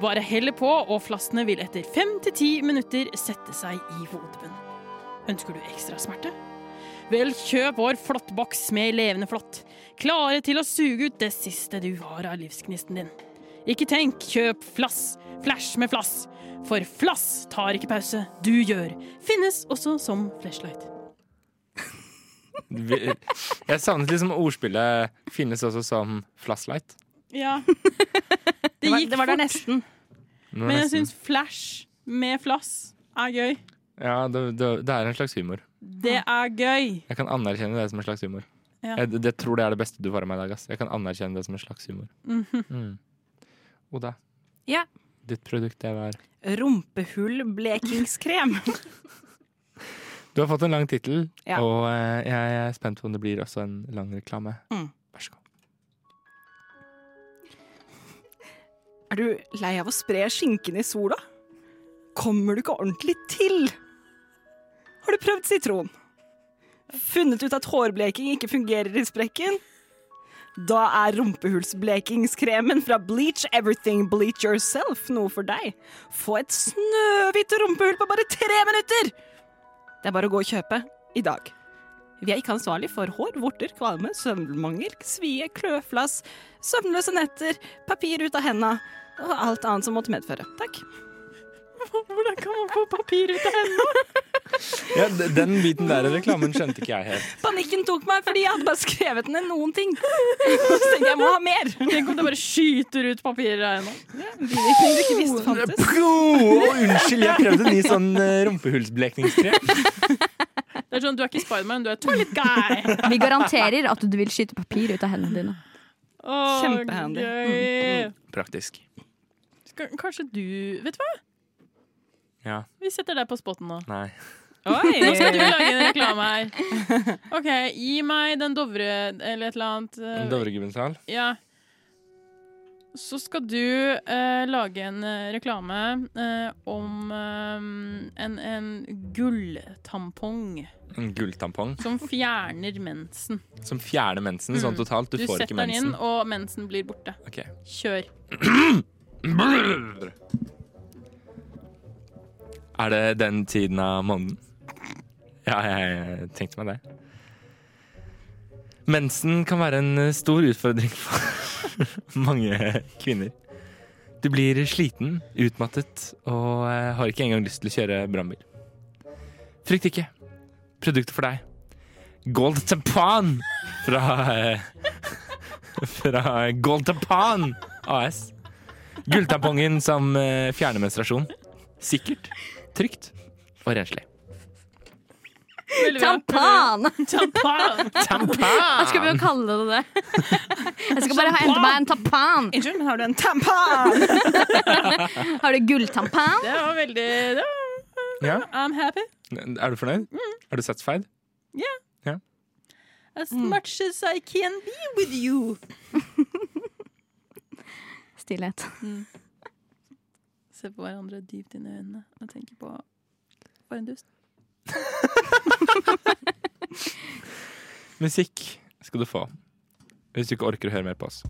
Speaker 4: Bare helle på, og flassene vil etter 5-10 minutter sette seg i hodebunnen. Ønsker du ekstra smerte? Vel, kjøp vår flåttboks med levende flått, klare til å suge ut det siste du har av livsgnisten din. Ikke tenk, kjøp flass, flash med flass, for flass tar ikke pause, du gjør. Finnes også som flashlight.
Speaker 3: Vi- Jeg savnet liksom ordspillet 'finnes også som flashlight'.
Speaker 4: Ja.
Speaker 6: Det var- det var der nesten.
Speaker 3: Det var
Speaker 4: Men jeg
Speaker 3: nesten-
Speaker 4: syns flash med flass er gøy.
Speaker 3: Ja, det, det, det er en slags humor.
Speaker 4: Det er gøy.
Speaker 3: Jeg kan anerkjenne det som en slags humor.
Speaker 4: Ja.
Speaker 3: Jeg, det- det tror det er det beste du får av meg i dag. Ass. Jeg kan anerkjenne det som en slags humor.
Speaker 6: Mhm.
Speaker 3: Mm. Oda,
Speaker 6: Ja.
Speaker 3: ditt produkt det var
Speaker 6: Rumpehull-blekingskrem.
Speaker 3: Du har fått en lang tittel,
Speaker 6: Ja.
Speaker 3: og eh, jeg er spent på om det blir også en lang reklame.
Speaker 6: Mm.
Speaker 3: Vær så god.
Speaker 14: Er du lei av å spre skinken i sola? Kommer du ikke ordentlig til? Har du prøvd sitron? Funnet ut at hårbleking ikke fungerer i sprekken? Da er rumpehullsblekingskremen fra Bleach Everything Bleach Yourself noe for deg. Få et snøhvitt rumpehull på bare tre minutter! Det er bare å gå og kjøpe i dag. Vi er ikke ansvarlig for hår, vorter, kvalme, søvnmangel, svie, kløflass, søvnløse netter, papir ut av henda og alt annet som måtte medføre. Takk.
Speaker 4: Hvordan kan man få papir ut av henda?
Speaker 3: Ja, d- den biten der i reklamen skjønte ikke jeg helt.
Speaker 14: Panikken tok meg fordi jeg hadde bare skrevet ned noen ting. Så tenkte jeg jeg må ha mer.
Speaker 4: Tenk om det bare skyter ut papirer av henda.
Speaker 14: Bivirkninger du ikke visste fantes.
Speaker 3: Oh, unnskyld, jeg prøvde en ny sånn eh, rumpehullsblekningskrem.
Speaker 4: Det er sånn, Du er ikke Spiderman, du er Toilet Guy.
Speaker 5: Vi garanterer at du vil skyte papir ut av hendene dine.
Speaker 4: Åh,
Speaker 5: Kjempehandy.
Speaker 4: gøy.
Speaker 3: Praktisk.
Speaker 4: Mm, Skal- Kanskje du Vet du hva?
Speaker 3: Ja.
Speaker 4: Vi setter deg på spotten nå.
Speaker 3: Nei.
Speaker 4: Oi. Nå skal du lage en reklame her. OK, gi meg den Dovre eller et eller annet. eh,
Speaker 3: Dovregubbens hal.
Speaker 4: Ja. så skal du eh, lage en eh, reklame eh, om eh, en, en gulltampong
Speaker 3: En gulltampong
Speaker 4: som fjerner mensen.
Speaker 3: som fjerner mensen sånn
Speaker 4: Mm.
Speaker 3: totalt. Du, får ikke
Speaker 4: setter den
Speaker 3: mensen.
Speaker 4: inn, og mensen blir borte.
Speaker 3: Ok.
Speaker 4: Kjør.
Speaker 3: Brrr. Er det den tiden av måneden? Ja, jeg tenkte meg det. Mensen kan være en eh, stor utfordring for mange kvinner. Du blir sliten, utmattet og eh, har ikke engang lyst til å kjøre brannbil. Frykt ikke. Produktet for deg. Gold Tampan fra eh, Fra Gold Tampan AS. Gulltampongen som eh, fjerner menstruasjon. Sikkert, trygt og renslig.
Speaker 5: Tampan!
Speaker 4: Tampan!
Speaker 5: Jeg skal begynne å kalle det det. Jeg skal bare ha hente meg en tampan.
Speaker 4: Unnskyld, men har du en
Speaker 5: tampan? Har du gulltampan?
Speaker 4: Det var veldig det var,
Speaker 3: Ja.
Speaker 4: I'm happy.
Speaker 3: Er du fornøyd? Er du satisfied?
Speaker 4: Yeah.
Speaker 3: Ja.
Speaker 4: As much as I can be with you.
Speaker 5: Stillhet.
Speaker 4: Se på hverandre dypt inn i øynene og tenke på For en dust.
Speaker 3: Musikk skal du få. Hvis du ikke orker å høre mer på oss.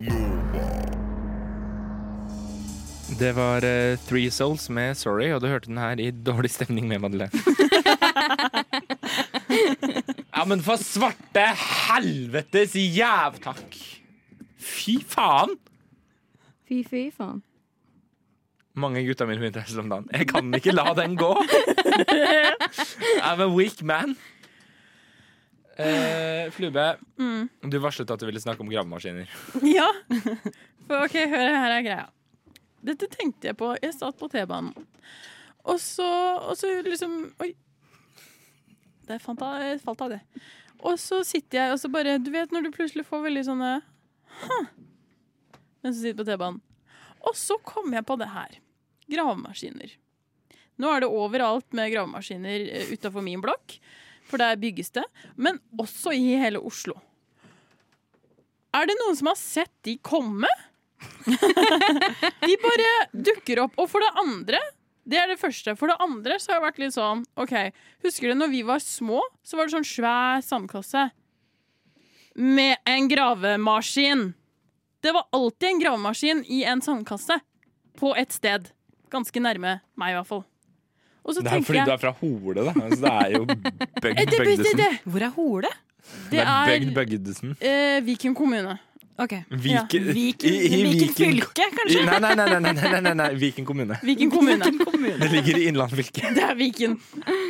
Speaker 3: Det var eh, Three Souls med Sorry, og du hørte den her i dårlig stemning med Madeleine. ja, men for svarte helvetes jævtakk! Fy faen!
Speaker 5: Fy, fy faen.
Speaker 3: Mange gutta mine begynte å helse om dagen. Jeg kan ikke la den gå! I'm a weak man. Eh, Flube,
Speaker 4: Mm.
Speaker 3: du varslet at du ville snakke om gravemaskiner.
Speaker 4: Ja. For OK, hør her er greia. Dette tenkte jeg på. Jeg satt på T-banen. Og så, og så liksom Oi. Der fant jeg, falt av det. Og så sitter jeg og så bare Du vet når du plutselig får veldig sånne «Hm», Mens du sitter på T-banen. Og så kom jeg på det her. Gravemaskiner. Nå er det overalt med gravemaskiner utafor min blokk, for der bygges det. Men også i hele Oslo. Er det noen som har sett de komme? de bare dukker opp. Og for det andre det er det første. For det andre så har jeg vært litt sånn OK, husker du når vi var små, så var det sånn svær sandkasse med en gravemaskin. Det var alltid en gravemaskin i en sandkasse på et sted. Ganske nærme meg, i hvert fall. Og så
Speaker 3: Det er
Speaker 4: tenker
Speaker 3: fordi
Speaker 4: jeg-
Speaker 3: du er fra Hole, da. Altså, det er jo Bøgd
Speaker 4: Det- det- det-
Speaker 3: Bøgdesen.
Speaker 4: det- Hvor er Hole?
Speaker 3: Det er Bøgd
Speaker 4: er
Speaker 3: Bøgdesen.
Speaker 4: eh, Viken kommune.
Speaker 3: Viken,
Speaker 4: Ja.
Speaker 3: i- i Viken- I- Nei, nei, nei, nei, nei, nei, nei, nei. Viken kommune.
Speaker 4: Viken kommune.
Speaker 3: Det ligger i Innlandet fylke.
Speaker 4: Det er Viken.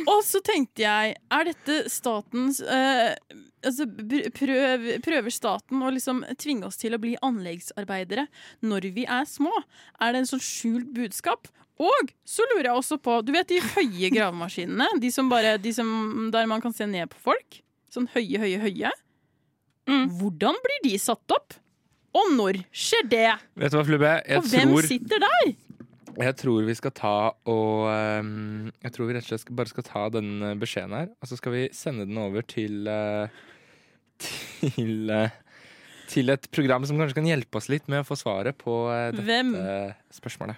Speaker 4: Og så tenkte jeg, er dette statens eh, altså, br- prøv, Prøver staten å liksom tvinge oss til å bli anleggsarbeidere når vi er små? Er det en sånn skjult budskap? Og så lurer jeg også på Du vet de høye gravemaskinene? De som bare, de som, der man kan se ned på folk? Sånn høye, høye, høye.
Speaker 3: Mm.
Speaker 4: Hvordan blir de satt opp? Og når skjer det?
Speaker 3: Vet du hva, Flubbe? Jeg
Speaker 4: og hvem
Speaker 3: tror,
Speaker 4: sitter der?
Speaker 3: jeg tror vi skal ta og ehm, Jeg tror vi rett og slett skal- bare skal ta den eh, beskjeden her, og så skal vi sende den over til eh, Til eh, Til et program som kanskje kan hjelpe oss litt med å få svaret på eh, dette
Speaker 4: Hvem?
Speaker 3: spørsmålet.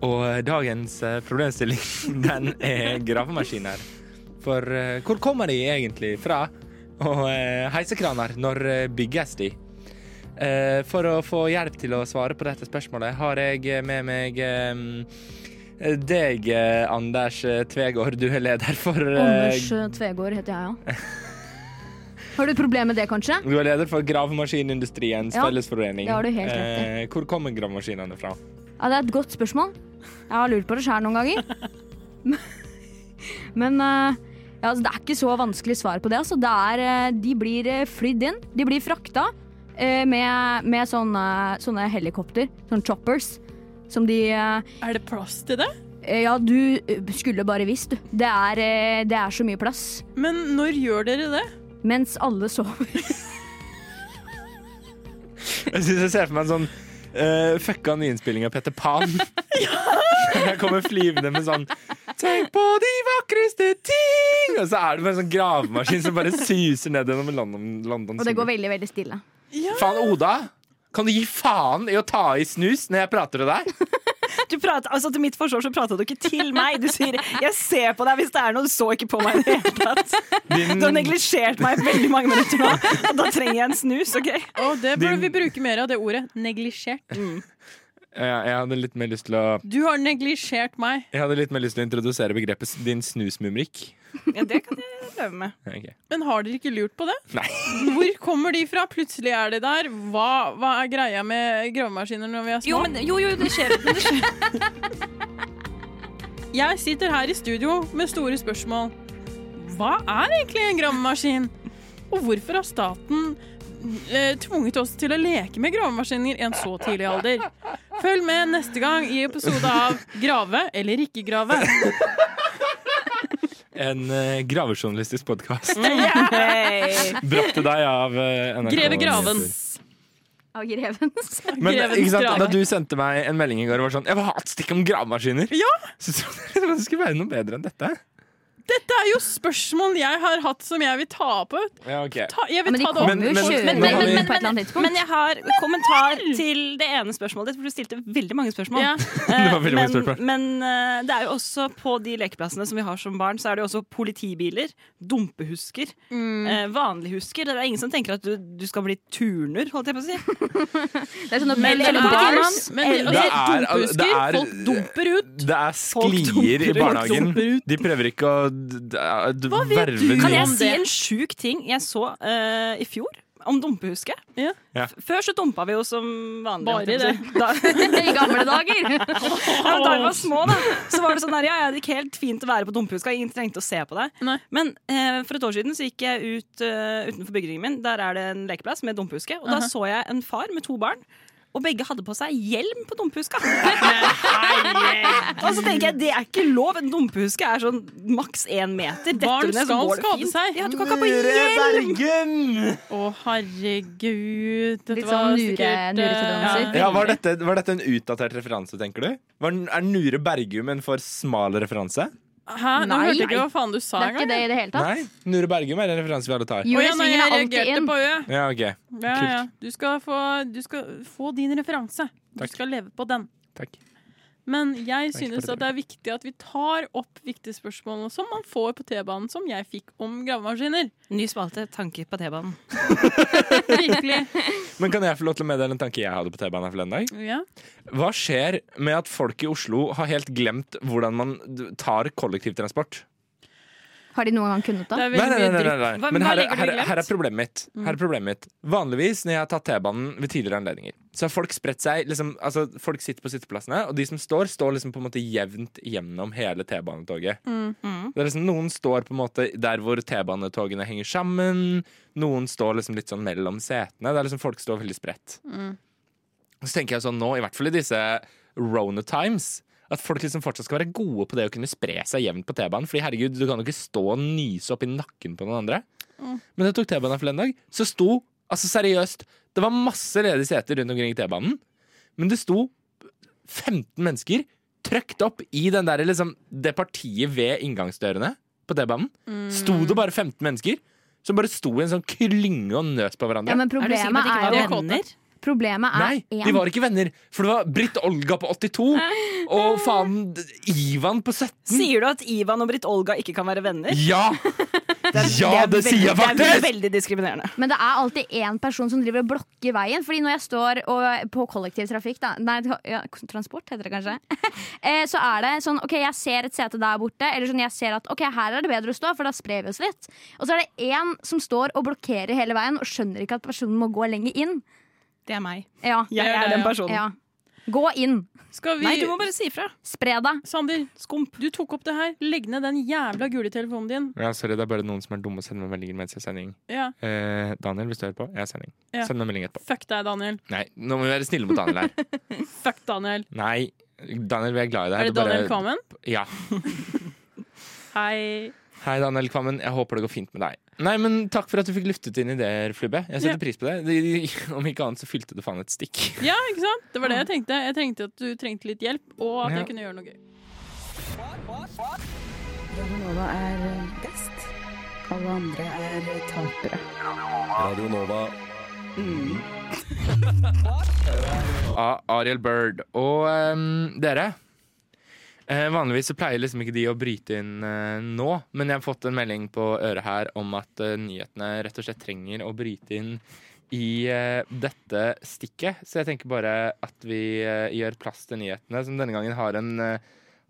Speaker 3: Og eh, dagens eh, problemstilling, den er gravemaskin her. For eh, hvor kommer de egentlig fra? Og eh, heisekraner, når eh, bygges de? Eh, For å få hjelp til å svare på dette spørsmålet, har jeg eh, med meg eh, deg, eh, Anders eh, Tvegård. Du er leder for eh,
Speaker 5: Anders eh, Tvegård heter jeg, ja. Har du et problem med det, kanskje?
Speaker 3: Du er leder for Gravemaskinindustriens
Speaker 5: Ja,
Speaker 3: Fellesforening.
Speaker 5: det har du helt rett i.
Speaker 3: Eh, Hvor kommer gravemaskinene fra?
Speaker 5: Ja, det er et godt spørsmål. Jeg har lurt på det sjøl noen ganger. Men eh, ja, altså, det er ikke så vanskelig svar på det. Altså. det er, eh, de blir eh, flydd inn. De blir frakta eh, med, med sånne, sånne helikopter, sånne choppers, som de eh,
Speaker 4: Er det plass til det?
Speaker 5: eh, Ja, du eh, skulle bare visst, du. Det er, eh, det er så mye plass.
Speaker 4: Men når gjør dere det?
Speaker 5: Mens alle sover.
Speaker 3: Jeg synes jeg ser for meg en sånn eh, fucka nyinnspilling av Petter Pan. Jeg kommer flyvende med sånn Tenk på de vakreste ting Og så er det bare en sånn gravemaskin som bare suser ned gjennom London. London
Speaker 5: Og det går veldig, veldig stille.
Speaker 3: Faen, Oda! Kan du gi faen i å ta i snus når jeg prater til deg?
Speaker 14: Du prater, altså Til mitt forsvar så prata du ikke til meg. Du sier 'jeg ser på deg hvis det er noe', du så ikke på meg i det hele tatt. Du har neglisjert meg i veldig mange minutter nå, og da trenger jeg en snus, OK?
Speaker 4: Og det burde
Speaker 3: Din-
Speaker 4: vi bruke mer av det ordet. Neglisjert.
Speaker 3: Ja, jeg hadde litt mer lyst til å
Speaker 4: Du har neglisjert meg.
Speaker 3: Jeg hadde litt mer lyst til å introdusere begrepet din snusmumrikk.
Speaker 4: Ja, det kan jeg leve med.
Speaker 3: Ok.
Speaker 4: Men har dere ikke lurt på det?
Speaker 3: Nei.
Speaker 4: Hvor kommer de fra? Plutselig er de der. Hva, hva er greia med gravemaskiner når vi er små?
Speaker 6: Jo, men, jo, jo, det skjer. Men det skjer.
Speaker 4: Jeg sitter her i studio med store spørsmål. Hva er egentlig en gravemaskin? Og hvorfor har staten eh, tvunget oss til å leke med gravemaskiner i en så tidlig alder? Følg med neste gang i episode av Grave eller ikke grave.
Speaker 3: En eh, gravejournalistisk podkast.
Speaker 4: Hey.
Speaker 3: Brakt til deg av eh, NRK.
Speaker 4: Greve Graven.
Speaker 3: Nyheter.
Speaker 5: Av grevens.
Speaker 3: Men ikke sant, da du sendte meg en melding i går og var sånn Jeg vil ha et stikk om gravemaskiner.
Speaker 4: Ja.
Speaker 3: Så trodde jeg liksom det skulle være noe bedre enn dette.
Speaker 4: Dette er jo spørsmål jeg har hatt som jeg vil ta opp.
Speaker 3: Ja, ok.
Speaker 4: Ta, jeg vil
Speaker 6: Men de
Speaker 4: ta det opp.
Speaker 3: kommer jo Men- men-
Speaker 6: Men, men, men,
Speaker 5: på et eller
Speaker 6: men,
Speaker 5: annet tidspunkt.
Speaker 6: men jeg har kommentar til det ene spørsmålet ditt, for du stilte veldig mange spørsmål.
Speaker 4: Ja.
Speaker 6: Eh,
Speaker 3: var veldig mange
Speaker 6: men,
Speaker 3: spørsmål.
Speaker 6: men eh, det er jo også på de lekeplassene som vi har som barn, så er det jo også politibiler, dumpehusker,
Speaker 4: Mm.
Speaker 6: eh, vanlighusker. Det er ingen som tenker at du, du skal bli turner, holdt jeg på å si.
Speaker 5: Det er sånn
Speaker 6: Men
Speaker 5: eller-
Speaker 6: det
Speaker 5: eller
Speaker 6: er-
Speaker 5: bars,
Speaker 6: men
Speaker 5: eller-
Speaker 3: Det er-
Speaker 4: altså, dumpehusker,
Speaker 3: det er-
Speaker 4: folk dumper ut.
Speaker 3: Det er sklier i
Speaker 4: dumper ut,
Speaker 3: barnehagen.
Speaker 4: dumper
Speaker 3: De prøver ikke å d- d- d-
Speaker 6: Hva vet
Speaker 3: verve
Speaker 6: du? Kan
Speaker 3: nye-
Speaker 6: jeg si en sjuk ting jeg så eh, i fjor? Om dumpehusket.
Speaker 4: Ja.
Speaker 3: Ja.
Speaker 6: F- Før så dumpa vi jo som vanlig.
Speaker 4: Bare
Speaker 6: holdt jeg på å si.
Speaker 5: I gamle dager.
Speaker 6: Ja, men da vi var små, da, så var det sånn der, ja, ja, det gikk helt fint å være på dumpehuska. Ingen trengte å se på deg.
Speaker 4: Nei.
Speaker 6: Men eh, for et år siden så gikk jeg ut eh, utenfor bygningen min. Der er det en lekeplass med dumpehuske. Og da
Speaker 4: Aha.
Speaker 6: så jeg en far med to barn. Og begge hadde på seg hjelm på dumpehuska. og så tenker jeg, det er ikke lov. En dumpehuske er sånn maks én meter. Detter
Speaker 4: Barn
Speaker 6: du ned, så
Speaker 4: skal
Speaker 6: går det
Speaker 4: skade
Speaker 6: fint.
Speaker 4: seg.
Speaker 6: Ja, du kan ikke ha på
Speaker 3: Nure
Speaker 6: hjelm!
Speaker 3: Bergen!
Speaker 4: Å, herregud. Dette
Speaker 5: Litt
Speaker 4: var
Speaker 5: sånn nure-
Speaker 4: sikkert eh,
Speaker 5: nuretendenser.
Speaker 3: Ja, var dette, var dette en utdatert referanse, tenker du? Var, er Nure Bergum en for smal referanse?
Speaker 4: Hæ? Nå
Speaker 5: Nei.
Speaker 4: hørte jeg ikke hva faen du sa
Speaker 5: Det er ikke
Speaker 4: engang.
Speaker 5: det i det hele tatt.
Speaker 3: Nei, Nure Bergum er en referanse vi alle tar.
Speaker 5: Jo,
Speaker 4: Å,
Speaker 5: jeg
Speaker 4: ja, nei,
Speaker 5: synger
Speaker 4: jeg
Speaker 5: alltid
Speaker 4: reagerte
Speaker 5: inn.
Speaker 4: på Ø.
Speaker 3: Ja, ok.
Speaker 4: Ja,
Speaker 3: Kult.
Speaker 4: ja. Du, skal få, du skal få din referanse. Du
Speaker 3: Takk.
Speaker 4: skal leve på den.
Speaker 3: Takk.
Speaker 4: Men jeg
Speaker 3: Takk for
Speaker 4: synes
Speaker 3: det.
Speaker 4: at det er viktig at vi tar opp viktige spørsmål som man får på T-banen, som jeg fikk om gravemaskiner.
Speaker 6: Ny spalte, tanker på T-banen.
Speaker 4: Virkelig.
Speaker 3: Men kan jeg få lov til å meddele en tanke jeg hadde på T-banen her forleden dag?
Speaker 4: Ja.
Speaker 3: Hva skjer med at folk i Oslo har helt glemt hvordan man d- tar kollektivtransport?
Speaker 5: Har de noen gang kunnet
Speaker 4: Det
Speaker 5: det?
Speaker 4: er
Speaker 3: Nei,
Speaker 4: veldig
Speaker 3: nei, nei,
Speaker 4: mye
Speaker 3: nei,
Speaker 4: dritt.
Speaker 3: nei.
Speaker 6: Hva-
Speaker 3: Men
Speaker 6: hva
Speaker 3: her,
Speaker 6: legger
Speaker 3: er-
Speaker 6: du i
Speaker 3: her, er-
Speaker 6: glemt?
Speaker 3: her er problemet mitt. Her er problemet mitt. Vanligvis når jeg har tatt T-banen ved tidligere anledninger, så har folk spredt seg liksom, altså, Folk sitter på sitteplassene, og de som står, står liksom på en måte jevnt gjennom hele T-banetoget. Det er liksom, noen står på en måte der hvor T-banetogene henger sammen. Noen står liksom litt sånn mellom setene. Det er liksom Folk står veldig spredt. Så tenker jeg sånn nå, i hvert fall i disse Rona Times, at folk liksom fortsatt skal være gode på det å kunne spre seg jevnt på T-banen. Fordi herregud, du kan jo ikke stå og nyse opp i nakken på noen andre. Men da jeg tok T-banen her forleden dag, så sto Altså seriøst, det var masse ledige seter rundt omkring i T-banen, men det sto 15 mennesker trøkt opp i den der, liksom, det partiet ved inngangsdørene på T-banen.
Speaker 4: Mm.
Speaker 3: Sto det bare 15 mennesker som bare sto i en sånn klynge og nøs på hverandre?
Speaker 5: Ja, men
Speaker 6: Er du sikker på
Speaker 5: problemet
Speaker 6: at det
Speaker 5: er
Speaker 6: ikke
Speaker 5: jo
Speaker 6: var venner?
Speaker 5: Problemet er
Speaker 3: Nei,
Speaker 5: én.
Speaker 3: de var ikke venner, for det var Britt Olga på 82 og faen Ivan på 17.
Speaker 6: Sier du at Ivan og Britt Olga ikke kan være venner?
Speaker 3: Ja! Ja, det sier jeg
Speaker 6: Det er
Speaker 3: faktisk!
Speaker 6: veldig diskriminerende.
Speaker 5: Men det er alltid én person som driver og blokker veien. Fordi når jeg står og, på kollektivtrafikk, da Nei, ja, transport heter det kanskje. eh, så er det sånn OK, jeg ser et sete der borte. Eller sånn jeg ser at OK, her er det bedre å stå, for da sprer vi oss litt. Og så er det én som står og blokkerer hele veien og skjønner ikke at personen må gå lenger inn.
Speaker 6: Det er meg.
Speaker 5: Ja.
Speaker 4: Det
Speaker 6: Jeg
Speaker 4: er
Speaker 6: er
Speaker 4: det,
Speaker 6: den
Speaker 4: ja.
Speaker 6: personen.
Speaker 5: ja. Gå inn.
Speaker 4: Skal vi
Speaker 6: Nei, du må bare si ifra.
Speaker 5: Spre deg.
Speaker 4: Sander, du tok opp det her. Legg ned den jævla gule telefonen din.
Speaker 3: Ja, sorry, det er bare noen som er dumme og sender meg meldinger mens jeg har sending.
Speaker 4: Ja.
Speaker 3: Eh, Daniel, hvis du hører på, jeg har sending.
Speaker 4: Ja.
Speaker 3: Send meg melding etterpå.
Speaker 4: Fuck deg, Daniel.
Speaker 3: Nei, nå må vi være snille mot Daniel her.
Speaker 4: Fuck Daniel.
Speaker 3: Nei, Daniel, vi er glad i deg.
Speaker 4: Er det
Speaker 3: bare-
Speaker 4: Daniel Kvammen?
Speaker 3: Ja.
Speaker 4: Hei.
Speaker 3: Hei, Daniel Kvammen. Jeg håper det går fint med deg. Nei, men Takk for at du fikk luftet dine ideer, Flubbe. Jeg setter
Speaker 4: Ja.
Speaker 3: pris på det. det. Om ikke annet så fylte det faen et stikk.
Speaker 4: Ja, ikke sant? Det var det jeg tenkte. Jeg tenkte at du trengte litt hjelp, og at
Speaker 3: Ja.
Speaker 4: jeg kunne gjøre noe gøy.
Speaker 14: Radionova er best.
Speaker 15: Alle andre er tapere.
Speaker 16: Radio Nova.
Speaker 3: av Ariel Bird. Og ehm, dere eh, Vanligvis så pleier liksom ikke de å bryte inn eh, nå, men jeg har fått en melding på øret her om at eh, nyhetene rett og slett trenger å bryte inn i eh, dette stikket. Så jeg tenker bare at vi eh, gjør plass til nyhetene, som denne gangen har en, eh,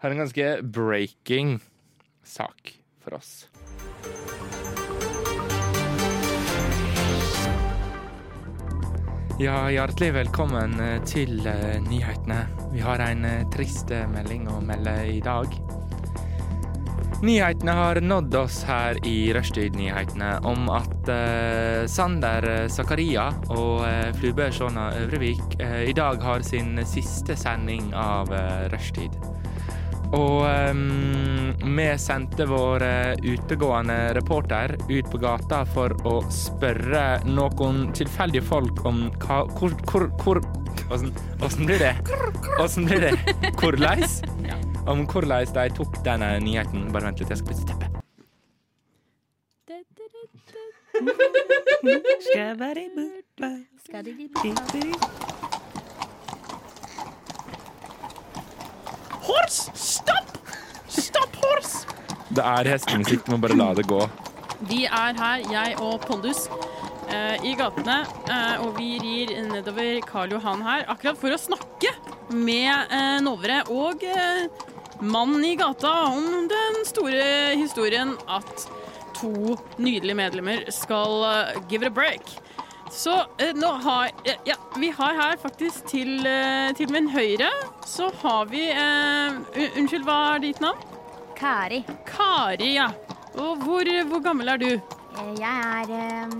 Speaker 3: har en ganske breaking sak for oss. Ja, hjertelig velkommen eh, til eh, nyhetene. Vi har en eh, trist eh, melding å melde i dag. Nyhetene har nådd oss her i Rushtid-nyhetene om at eh, Sander Zakaria og eh, Flubø Sjona Øvrevik eh, i dag har sin siste sending av eh, Rushtid. Og ehm, vi sendte vår eh, utegående reporter ut på gata for å spørre noen tilfeldige folk om hva Hvor, hvor, hvor Åssen åssen blir det? Åssen blir det? Hvorleis? Om hvordan de tok denne nyheten. Bare vent litt, jeg skal bytte teppe.
Speaker 17: Horse, stopp! Stopp, horse!
Speaker 3: Det er hestemusikk, du må bare la det gå.
Speaker 4: Vi er her, jeg og Pondus, eh, i gatene, eh, og vi rir nedover Karl Johan her, akkurat for å snakke med eh, Novere og eh, mannen i gata om den store historien at to nydelige medlemmer skal eh, give it a break. Så eh, nå har ja, ja, vi har her faktisk til, eh, til min høyre så har vi eh, un- Unnskyld, hva er ditt navn?
Speaker 5: Kari.
Speaker 4: Kari, ja. Og hvor, hvor gammel er du?
Speaker 5: Eh, Jeg er eh,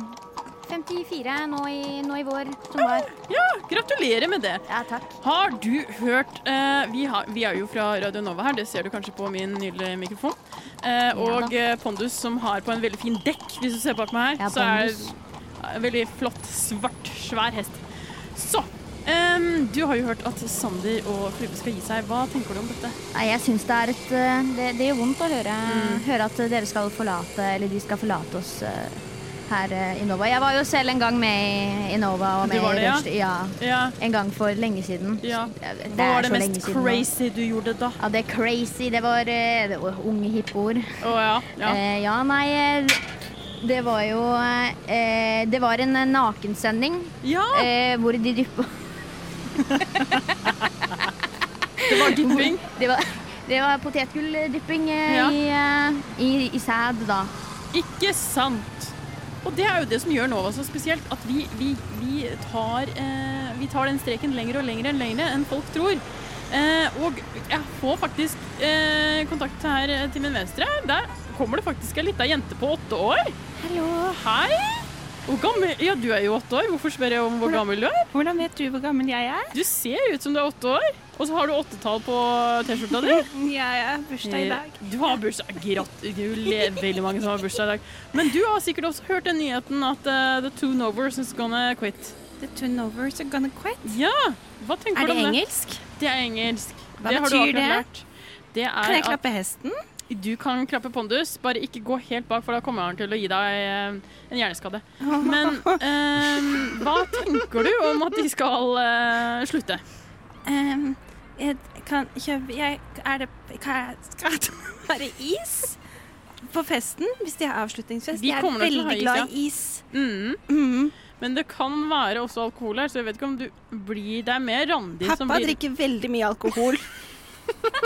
Speaker 5: 54 nå i, nå i vår, som var.
Speaker 4: Ja, gratulerer med det.
Speaker 5: Ja, takk.
Speaker 4: Har du hørt eh, vi, har, vi er jo fra Radio Nova her, det ser du kanskje på min nydelige mikrofon. Eh, og eh, Pondus som har på en veldig fin dekk, hvis du ser bak meg her,
Speaker 5: Ja,
Speaker 4: så er
Speaker 5: Pondus.
Speaker 4: ja, en veldig flott, svart, svær hest. Så, em, du har jo hørt at Sander og Flubbe skal gi seg. Hva tenker du om dette?
Speaker 5: Nei, jeg syns det er et eh, Det, det gjør vondt å høre,
Speaker 4: Mm.
Speaker 5: høre at dere skal forlate Eller de skal forlate oss eh, her eh, i Nova. Jeg var jo selv en gang med i, i Nova og
Speaker 4: Du
Speaker 5: med
Speaker 4: var det, ja?
Speaker 5: Rushdie- ja. En gang for lenge siden. Det
Speaker 4: Hva
Speaker 5: er
Speaker 4: var det
Speaker 5: så
Speaker 4: mest
Speaker 5: lenge siden nå.
Speaker 4: crazy du gjorde da?
Speaker 5: Ja, det er crazy. Det var, eh, det var unge hippor.
Speaker 4: Å ja. ja.
Speaker 5: Eh, ja, nei eh, Det var jo eh, Det var en eh, nakensending
Speaker 4: Ah.
Speaker 5: eh, hvor de dyppa
Speaker 4: Det var dypping?
Speaker 5: Det var, det var potetgulldypping eh,
Speaker 4: Ja.
Speaker 5: i, eh, i, i sæd, da.
Speaker 4: Ikke sant! Og det er jo det som gjør Nova så spesielt, at vi, vi, vi, tar, eh, vi tar den streken lenger og lenger enn lengre enn folk tror. Eh, og jeg får faktisk eh, kontakt her eh, til min venstre. Der kommer det faktisk ei lita jente på åtte år.
Speaker 15: Hallo.
Speaker 4: Hei! Hvor gammel Ja, du er jo åtte år. Hvorfor spør jeg om hvor
Speaker 15: Hvordan-
Speaker 4: gammel du er?
Speaker 15: Hvordan vet du hvor gammel jeg er?
Speaker 4: Du ser ut som du er åtte år, og så har du åttetall på T-skjorta di.
Speaker 15: Ja, jeg har bursdag i dag.
Speaker 4: Eh, Du har bursdag. Gratulerer. Veldig mange som har bursdag i dag. Men du har sikkert også hørt den nyheten at eh, the two novers is gonna quit.
Speaker 15: The turnovers are gonna quit.
Speaker 4: Ja! Hva tenker
Speaker 15: Er
Speaker 4: du
Speaker 15: det
Speaker 4: om det?
Speaker 15: engelsk?
Speaker 4: Det er engelsk.
Speaker 15: Hva
Speaker 4: har du
Speaker 15: betyr
Speaker 4: akkurat
Speaker 15: det?
Speaker 4: lært. Det er
Speaker 15: Kan jeg
Speaker 4: at-
Speaker 15: klappe hesten?
Speaker 4: Du kan klappe pondus, bare ikke gå helt bak, for da kommer han til å gi deg eh, en hjerneskade. Men eh, hva tenker du om at de skal eh, slutte?
Speaker 15: Ehm, jeg kan kjøpe jeg, er det, kan jeg, Skal det være is på festen hvis de har avslutningsfest?
Speaker 4: De
Speaker 15: jeg er
Speaker 4: kommer nok til å ha
Speaker 15: veldig
Speaker 4: is, ja.
Speaker 15: glad i is.
Speaker 4: Mm. Men det kan være også alkohol her, så jeg vet ikke om du blir Det er mer Randi som
Speaker 15: Pappa
Speaker 4: blir
Speaker 15: drikker veldig mye alkohol.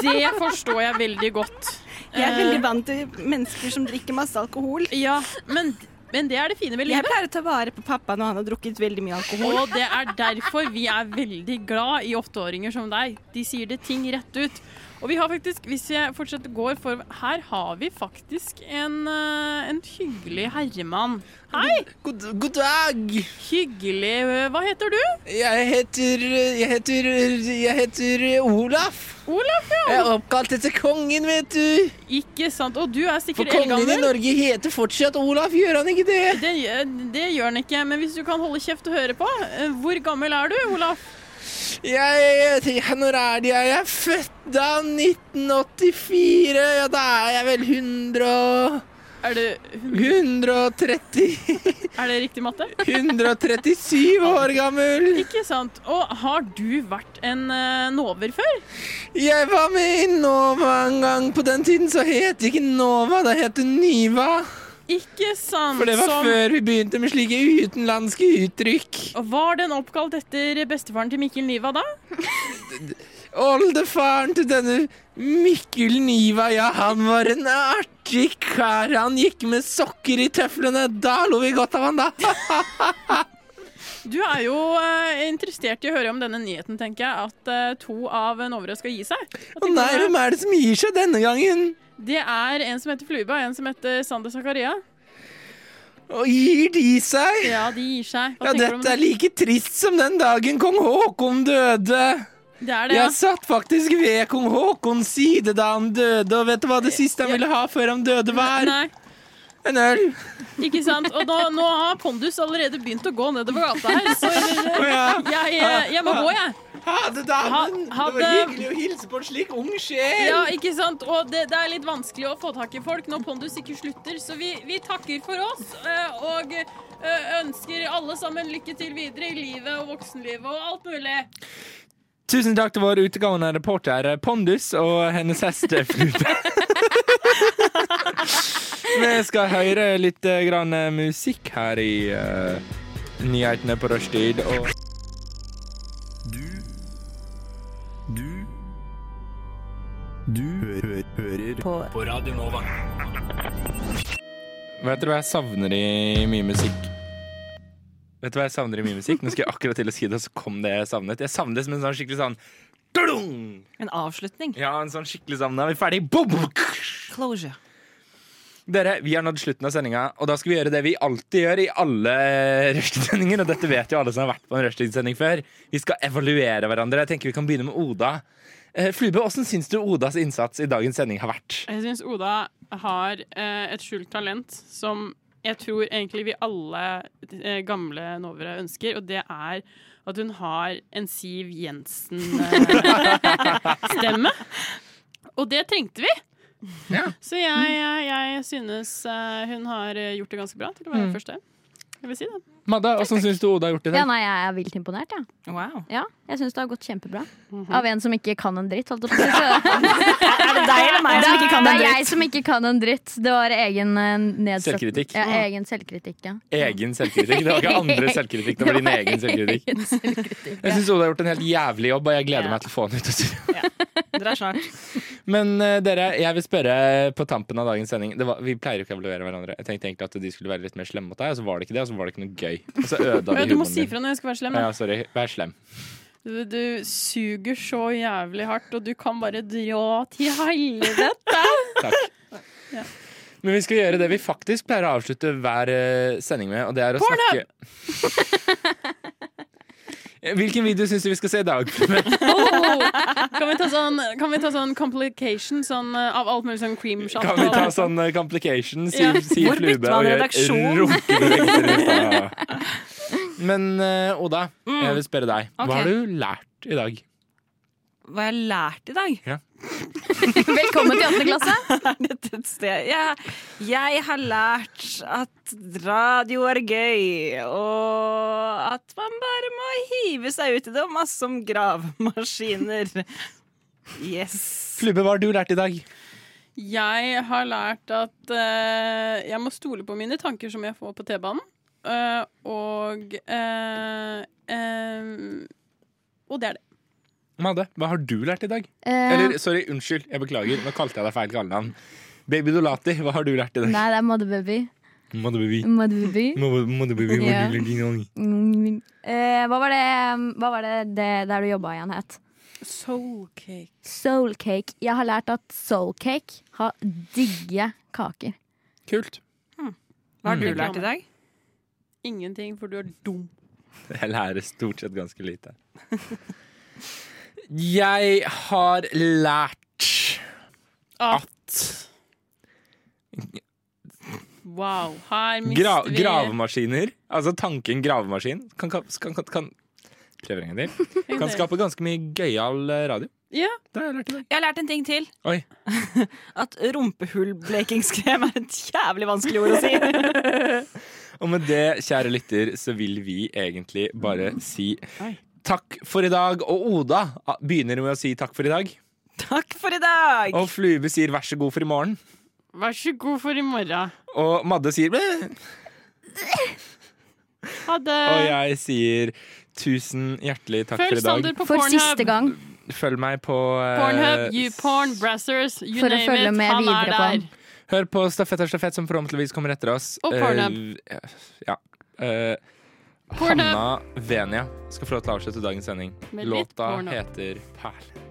Speaker 4: Det forstår jeg veldig godt.
Speaker 15: Jeg er veldig
Speaker 4: Eh,
Speaker 15: vant til mennesker som drikker masse alkohol.
Speaker 4: Ja, men, det er det fine med
Speaker 15: Jeg
Speaker 4: livet.
Speaker 15: pleier å ta vare på pappa når han har drukket veldig mye alkohol.
Speaker 4: Og det er derfor vi er veldig glad i åtteåringer som deg. De sier det ting rett ut. Og vi har faktisk, hvis jeg fortsatt går for Her har vi faktisk en, eh, en hyggelig herremann. Hei!
Speaker 18: God, dag!
Speaker 4: Hyggelig. eh, Hva heter du?
Speaker 18: Jeg heter Jeg heter Jeg heter Olaf.
Speaker 4: Olaf, ja.
Speaker 18: Jeg er oppkalt etter kongen, vet du.
Speaker 4: Ikke sant. Og du er
Speaker 18: For
Speaker 4: sikkert
Speaker 18: kongen i
Speaker 4: eldgammel.
Speaker 18: Norge heter fortsatt Olaf, gjør han ikke det?
Speaker 4: Det, gjør- det gjør han ikke, men hvis du kan holde kjeft og høre på. eh, Hvor gammel er du, Olaf?
Speaker 18: Jeg, jeg, jeg, når er det jeg Jeg er født da? 1984? Ja, da er jeg vel 100 og
Speaker 4: Er det
Speaker 18: 130
Speaker 4: Er det riktig matte?
Speaker 18: 137 år gammel!
Speaker 4: Ikke sant. Og har du vært en eh, nover før?
Speaker 18: Jeg var med i Nova en gang. På den tiden så het det ikke Nova, det het Niva.
Speaker 4: Ikke sant.
Speaker 18: For det var
Speaker 4: som-
Speaker 18: før vi begynte med slike utenlandske uttrykk.
Speaker 4: Og Var den oppkalt etter bestefaren til Mikkel Niva da?
Speaker 18: Oldefaren til denne Mikkel Niva, ja, han var en artig kar. Han gikk med sokker i tøflene. Da lo vi godt av han, da.
Speaker 4: Du er jo eh, interessert i å høre om denne nyheten, tenker jeg, at eh, to av novere skal gi seg.
Speaker 18: Å nei, hvem er det som gir seg denne gangen?
Speaker 4: Det er en som heter Fluba, og en som heter Sander Zakaria.
Speaker 18: Og gir de seg?
Speaker 4: Ja, de gir seg. Hva
Speaker 18: Ja,
Speaker 4: tenker du om
Speaker 18: dette er
Speaker 4: det?
Speaker 18: like trist som den dagen kong Haakon døde.
Speaker 4: Det er det, ja.
Speaker 18: Jeg satt faktisk ved kong Haakons side da han døde, og vet du hva det siste han ville ha før han døde, var? En øl.
Speaker 4: Ikke sant? Og da, nå har Pondus allerede begynt å gå nedover gata her, så jeg, jeg, eh, jeg må gå, jeg.
Speaker 18: Ha det, da.
Speaker 4: Ha- ha
Speaker 18: det var
Speaker 4: det.
Speaker 18: hyggelig å hilse på en slik ung sjel.
Speaker 4: Ja, ikke sant? Og det, det er litt vanskelig å få tak i folk når Pondus ikke slutter, så vi, vi takker for oss eh, og eh, ønsker alle sammen lykke til videre i livet og voksenlivet og alt mulig.
Speaker 3: Tusen takk til vår utegående reporter Pondus og hennes hest eh, Flute. Vi skal høre litt eh, grann eh, musikk her i eh, nyhetene på rushtid. Og
Speaker 16: Du Du Du hø hø hører på, på Radio Nova.
Speaker 3: vet du hva jeg savner i mye musikk? Vet du hva jeg savner i mye musikk? Nå skal jeg akkurat til å si det, og så kom det jeg savnet. Jeg savner det som en sånn skikkelig sånn Dung!
Speaker 19: En avslutning.
Speaker 3: Ja, en sånn skikkelig sånn Da er vi ferdig. Boom!
Speaker 19: Closure.
Speaker 3: Dere, vi har nådd slutten av sendinga, og da skal vi gjøre det vi alltid gjør i alle rushtidsendinger. Og dette vet jo alle som har vært på en rushtidssending før. Vi skal evaluere hverandre. Jeg tenker vi kan begynne med Oda. Eh, Flube, hvordan syns du Odas innsats i dagens sending har vært?
Speaker 4: Jeg syns Oda har eh, et skjult talent som jeg tror egentlig vi alle eh, gamle novere ønsker, og det er at hun har en Siv Jensen-stemme. og det trengte vi! Så jeg, jeg, jeg synes eh, hun har eh, gjort det ganske bra til å være
Speaker 3: Mm.
Speaker 4: første. Jeg vil si det.
Speaker 3: Madda, hvordan syns du Oda har gjort det i
Speaker 5: Ja,
Speaker 3: dag?
Speaker 5: nei, jeg er vilt imponert, jeg.
Speaker 19: Ja.
Speaker 5: jeg syns det har gått kjempebra.
Speaker 14: Mhm.
Speaker 5: Av en som ikke kan en dritt, holdt jeg på å si. Er
Speaker 14: det deg eller meg som ikke kan en
Speaker 5: Det
Speaker 14: dritt?
Speaker 5: er jeg som ikke kan en dritt. Det var egen eh, nedsatt
Speaker 3: Selvkritikk.
Speaker 5: Ja,
Speaker 14: Mhm.
Speaker 5: egen selvkritikk, ja.
Speaker 3: Egen selvkritikk. Det var ikke andre selvkritikk, det var din egen selvkritikk.
Speaker 5: Egen selvkritikk,
Speaker 3: Jeg syns Oda har gjort en helt jævlig jobb, og jeg gleder meg til å få den ut. og se.
Speaker 19: Dere er snart.
Speaker 3: Men eh, dere, jeg vil spørre på tampen av dagens sending det var, Vi pleier jo ikke å evaluere hverandre. Jeg tenkte egentlig at de skulle være litt mer slemme mot deg, og så var det ikke det, og så var det ikke noe gøy. Og så ødela
Speaker 4: Ja,
Speaker 3: de
Speaker 4: Du må
Speaker 3: humoren
Speaker 4: si
Speaker 3: din.
Speaker 4: fra når jeg skal være slem.
Speaker 3: Ja, sorry. Vær slem.
Speaker 4: Du, du suger så jævlig hardt, og du kan bare dra til helvete!
Speaker 3: Men vi skal gjøre det vi faktisk pleier å avslutte hver eh, sending med, og det er å
Speaker 4: Pornhub!
Speaker 3: snakke Hvilken video syns du vi skal se i dag?
Speaker 4: Oh! Kan vi ta sånn, kan vi ta sånn complication sånn, eh, av alt mulig sånn cream shot?
Speaker 3: Kan vi ta sånn eh, complication? Si,
Speaker 4: Ja.
Speaker 3: si
Speaker 4: Hvor bytter
Speaker 3: flube
Speaker 4: man
Speaker 3: og
Speaker 4: redaksjon?
Speaker 3: gjør runkebevegelser. Men eh, Oda,
Speaker 19: Mm.
Speaker 3: jeg vil spørre deg.
Speaker 19: Ok.
Speaker 3: Hva har du lært i dag?
Speaker 19: Hva jeg har lært i dag?
Speaker 3: Ja.
Speaker 19: Velkommen
Speaker 5: til andre klasse.
Speaker 19: Er dette et sted? Jeg, jeg har lært at radio er gøy, og at man bare må hive seg ut i det, og masse om gravemaskiner. Yes.
Speaker 3: Flube, hva har du lært i dag?
Speaker 4: Jeg har lært at eh, jeg må stole på mine tanker som jeg får på T-banen. Eh, og eh, eh, Og det er det.
Speaker 3: Madde, hva har du lært i dag?
Speaker 5: Eh.
Speaker 3: Eller sorry, unnskyld, jeg beklager. Nå kalte jeg deg feil kallenavn. Baby Dolati, hva har du lært i dag?
Speaker 5: Nei, det er Motherbaby.
Speaker 3: Madde baby.
Speaker 5: Motherbaby.
Speaker 3: Madde- Madde baby.
Speaker 5: Ja.
Speaker 3: Madde lille gang.
Speaker 5: Mm. Eh, hva var det, hva var det, det der du jobba igjen het?
Speaker 4: Soulcake.
Speaker 5: Soulcake. Jeg har lært at soulcake har digge kaker.
Speaker 3: Kult.
Speaker 19: Hva har du
Speaker 3: Mm.
Speaker 19: lært i dag?
Speaker 4: Ingenting, for du er dum.
Speaker 3: Jeg lærer stort sett ganske lite. Jeg har lært at
Speaker 4: Wow. Her mister
Speaker 3: gra
Speaker 4: vi
Speaker 3: gravemaskiner, altså tanken gravemaskin, kan, kan, kan, kan prøver en gang til. Kan skape ganske mye gøyal eh, radio.
Speaker 4: Ja.
Speaker 3: har jeg lært
Speaker 6: en ting til.
Speaker 3: Oi.
Speaker 14: At rumpehullblekingskrem er et jævlig vanskelig ord å si.
Speaker 3: Og med det, kjære lytter, så vil vi egentlig bare si takk for i dag. Og Oda ah, begynner med å si takk for i dag.
Speaker 14: Takk for i dag!
Speaker 3: Og Flube sier vær så god for i morgen.
Speaker 4: Vær så god for i morgen.
Speaker 3: Og Madde sier «Bæ».
Speaker 4: Ha det.
Speaker 3: Og jeg sier tusen hjertelig takk
Speaker 4: Eh. Følg
Speaker 3: for i dag.
Speaker 4: Sander på For Pornhub. siste gang.
Speaker 3: Følg meg på eh,
Speaker 4: Pornhub, YouPorn, Brazzers, you
Speaker 5: For å
Speaker 4: name
Speaker 5: følge
Speaker 4: it.
Speaker 5: med
Speaker 4: Han er
Speaker 5: videre på
Speaker 4: der.
Speaker 5: han.
Speaker 3: Hør på Stafett og stafett, som forhåpentligvis kommer etter oss.
Speaker 4: Og Pornhub.
Speaker 3: Eh, ja. Eh,
Speaker 4: Pornhub.
Speaker 3: Hanna Venia skal få lov til å avslutte dagens sending.
Speaker 4: Med litt
Speaker 3: Låta
Speaker 4: porno.
Speaker 3: heter Perle.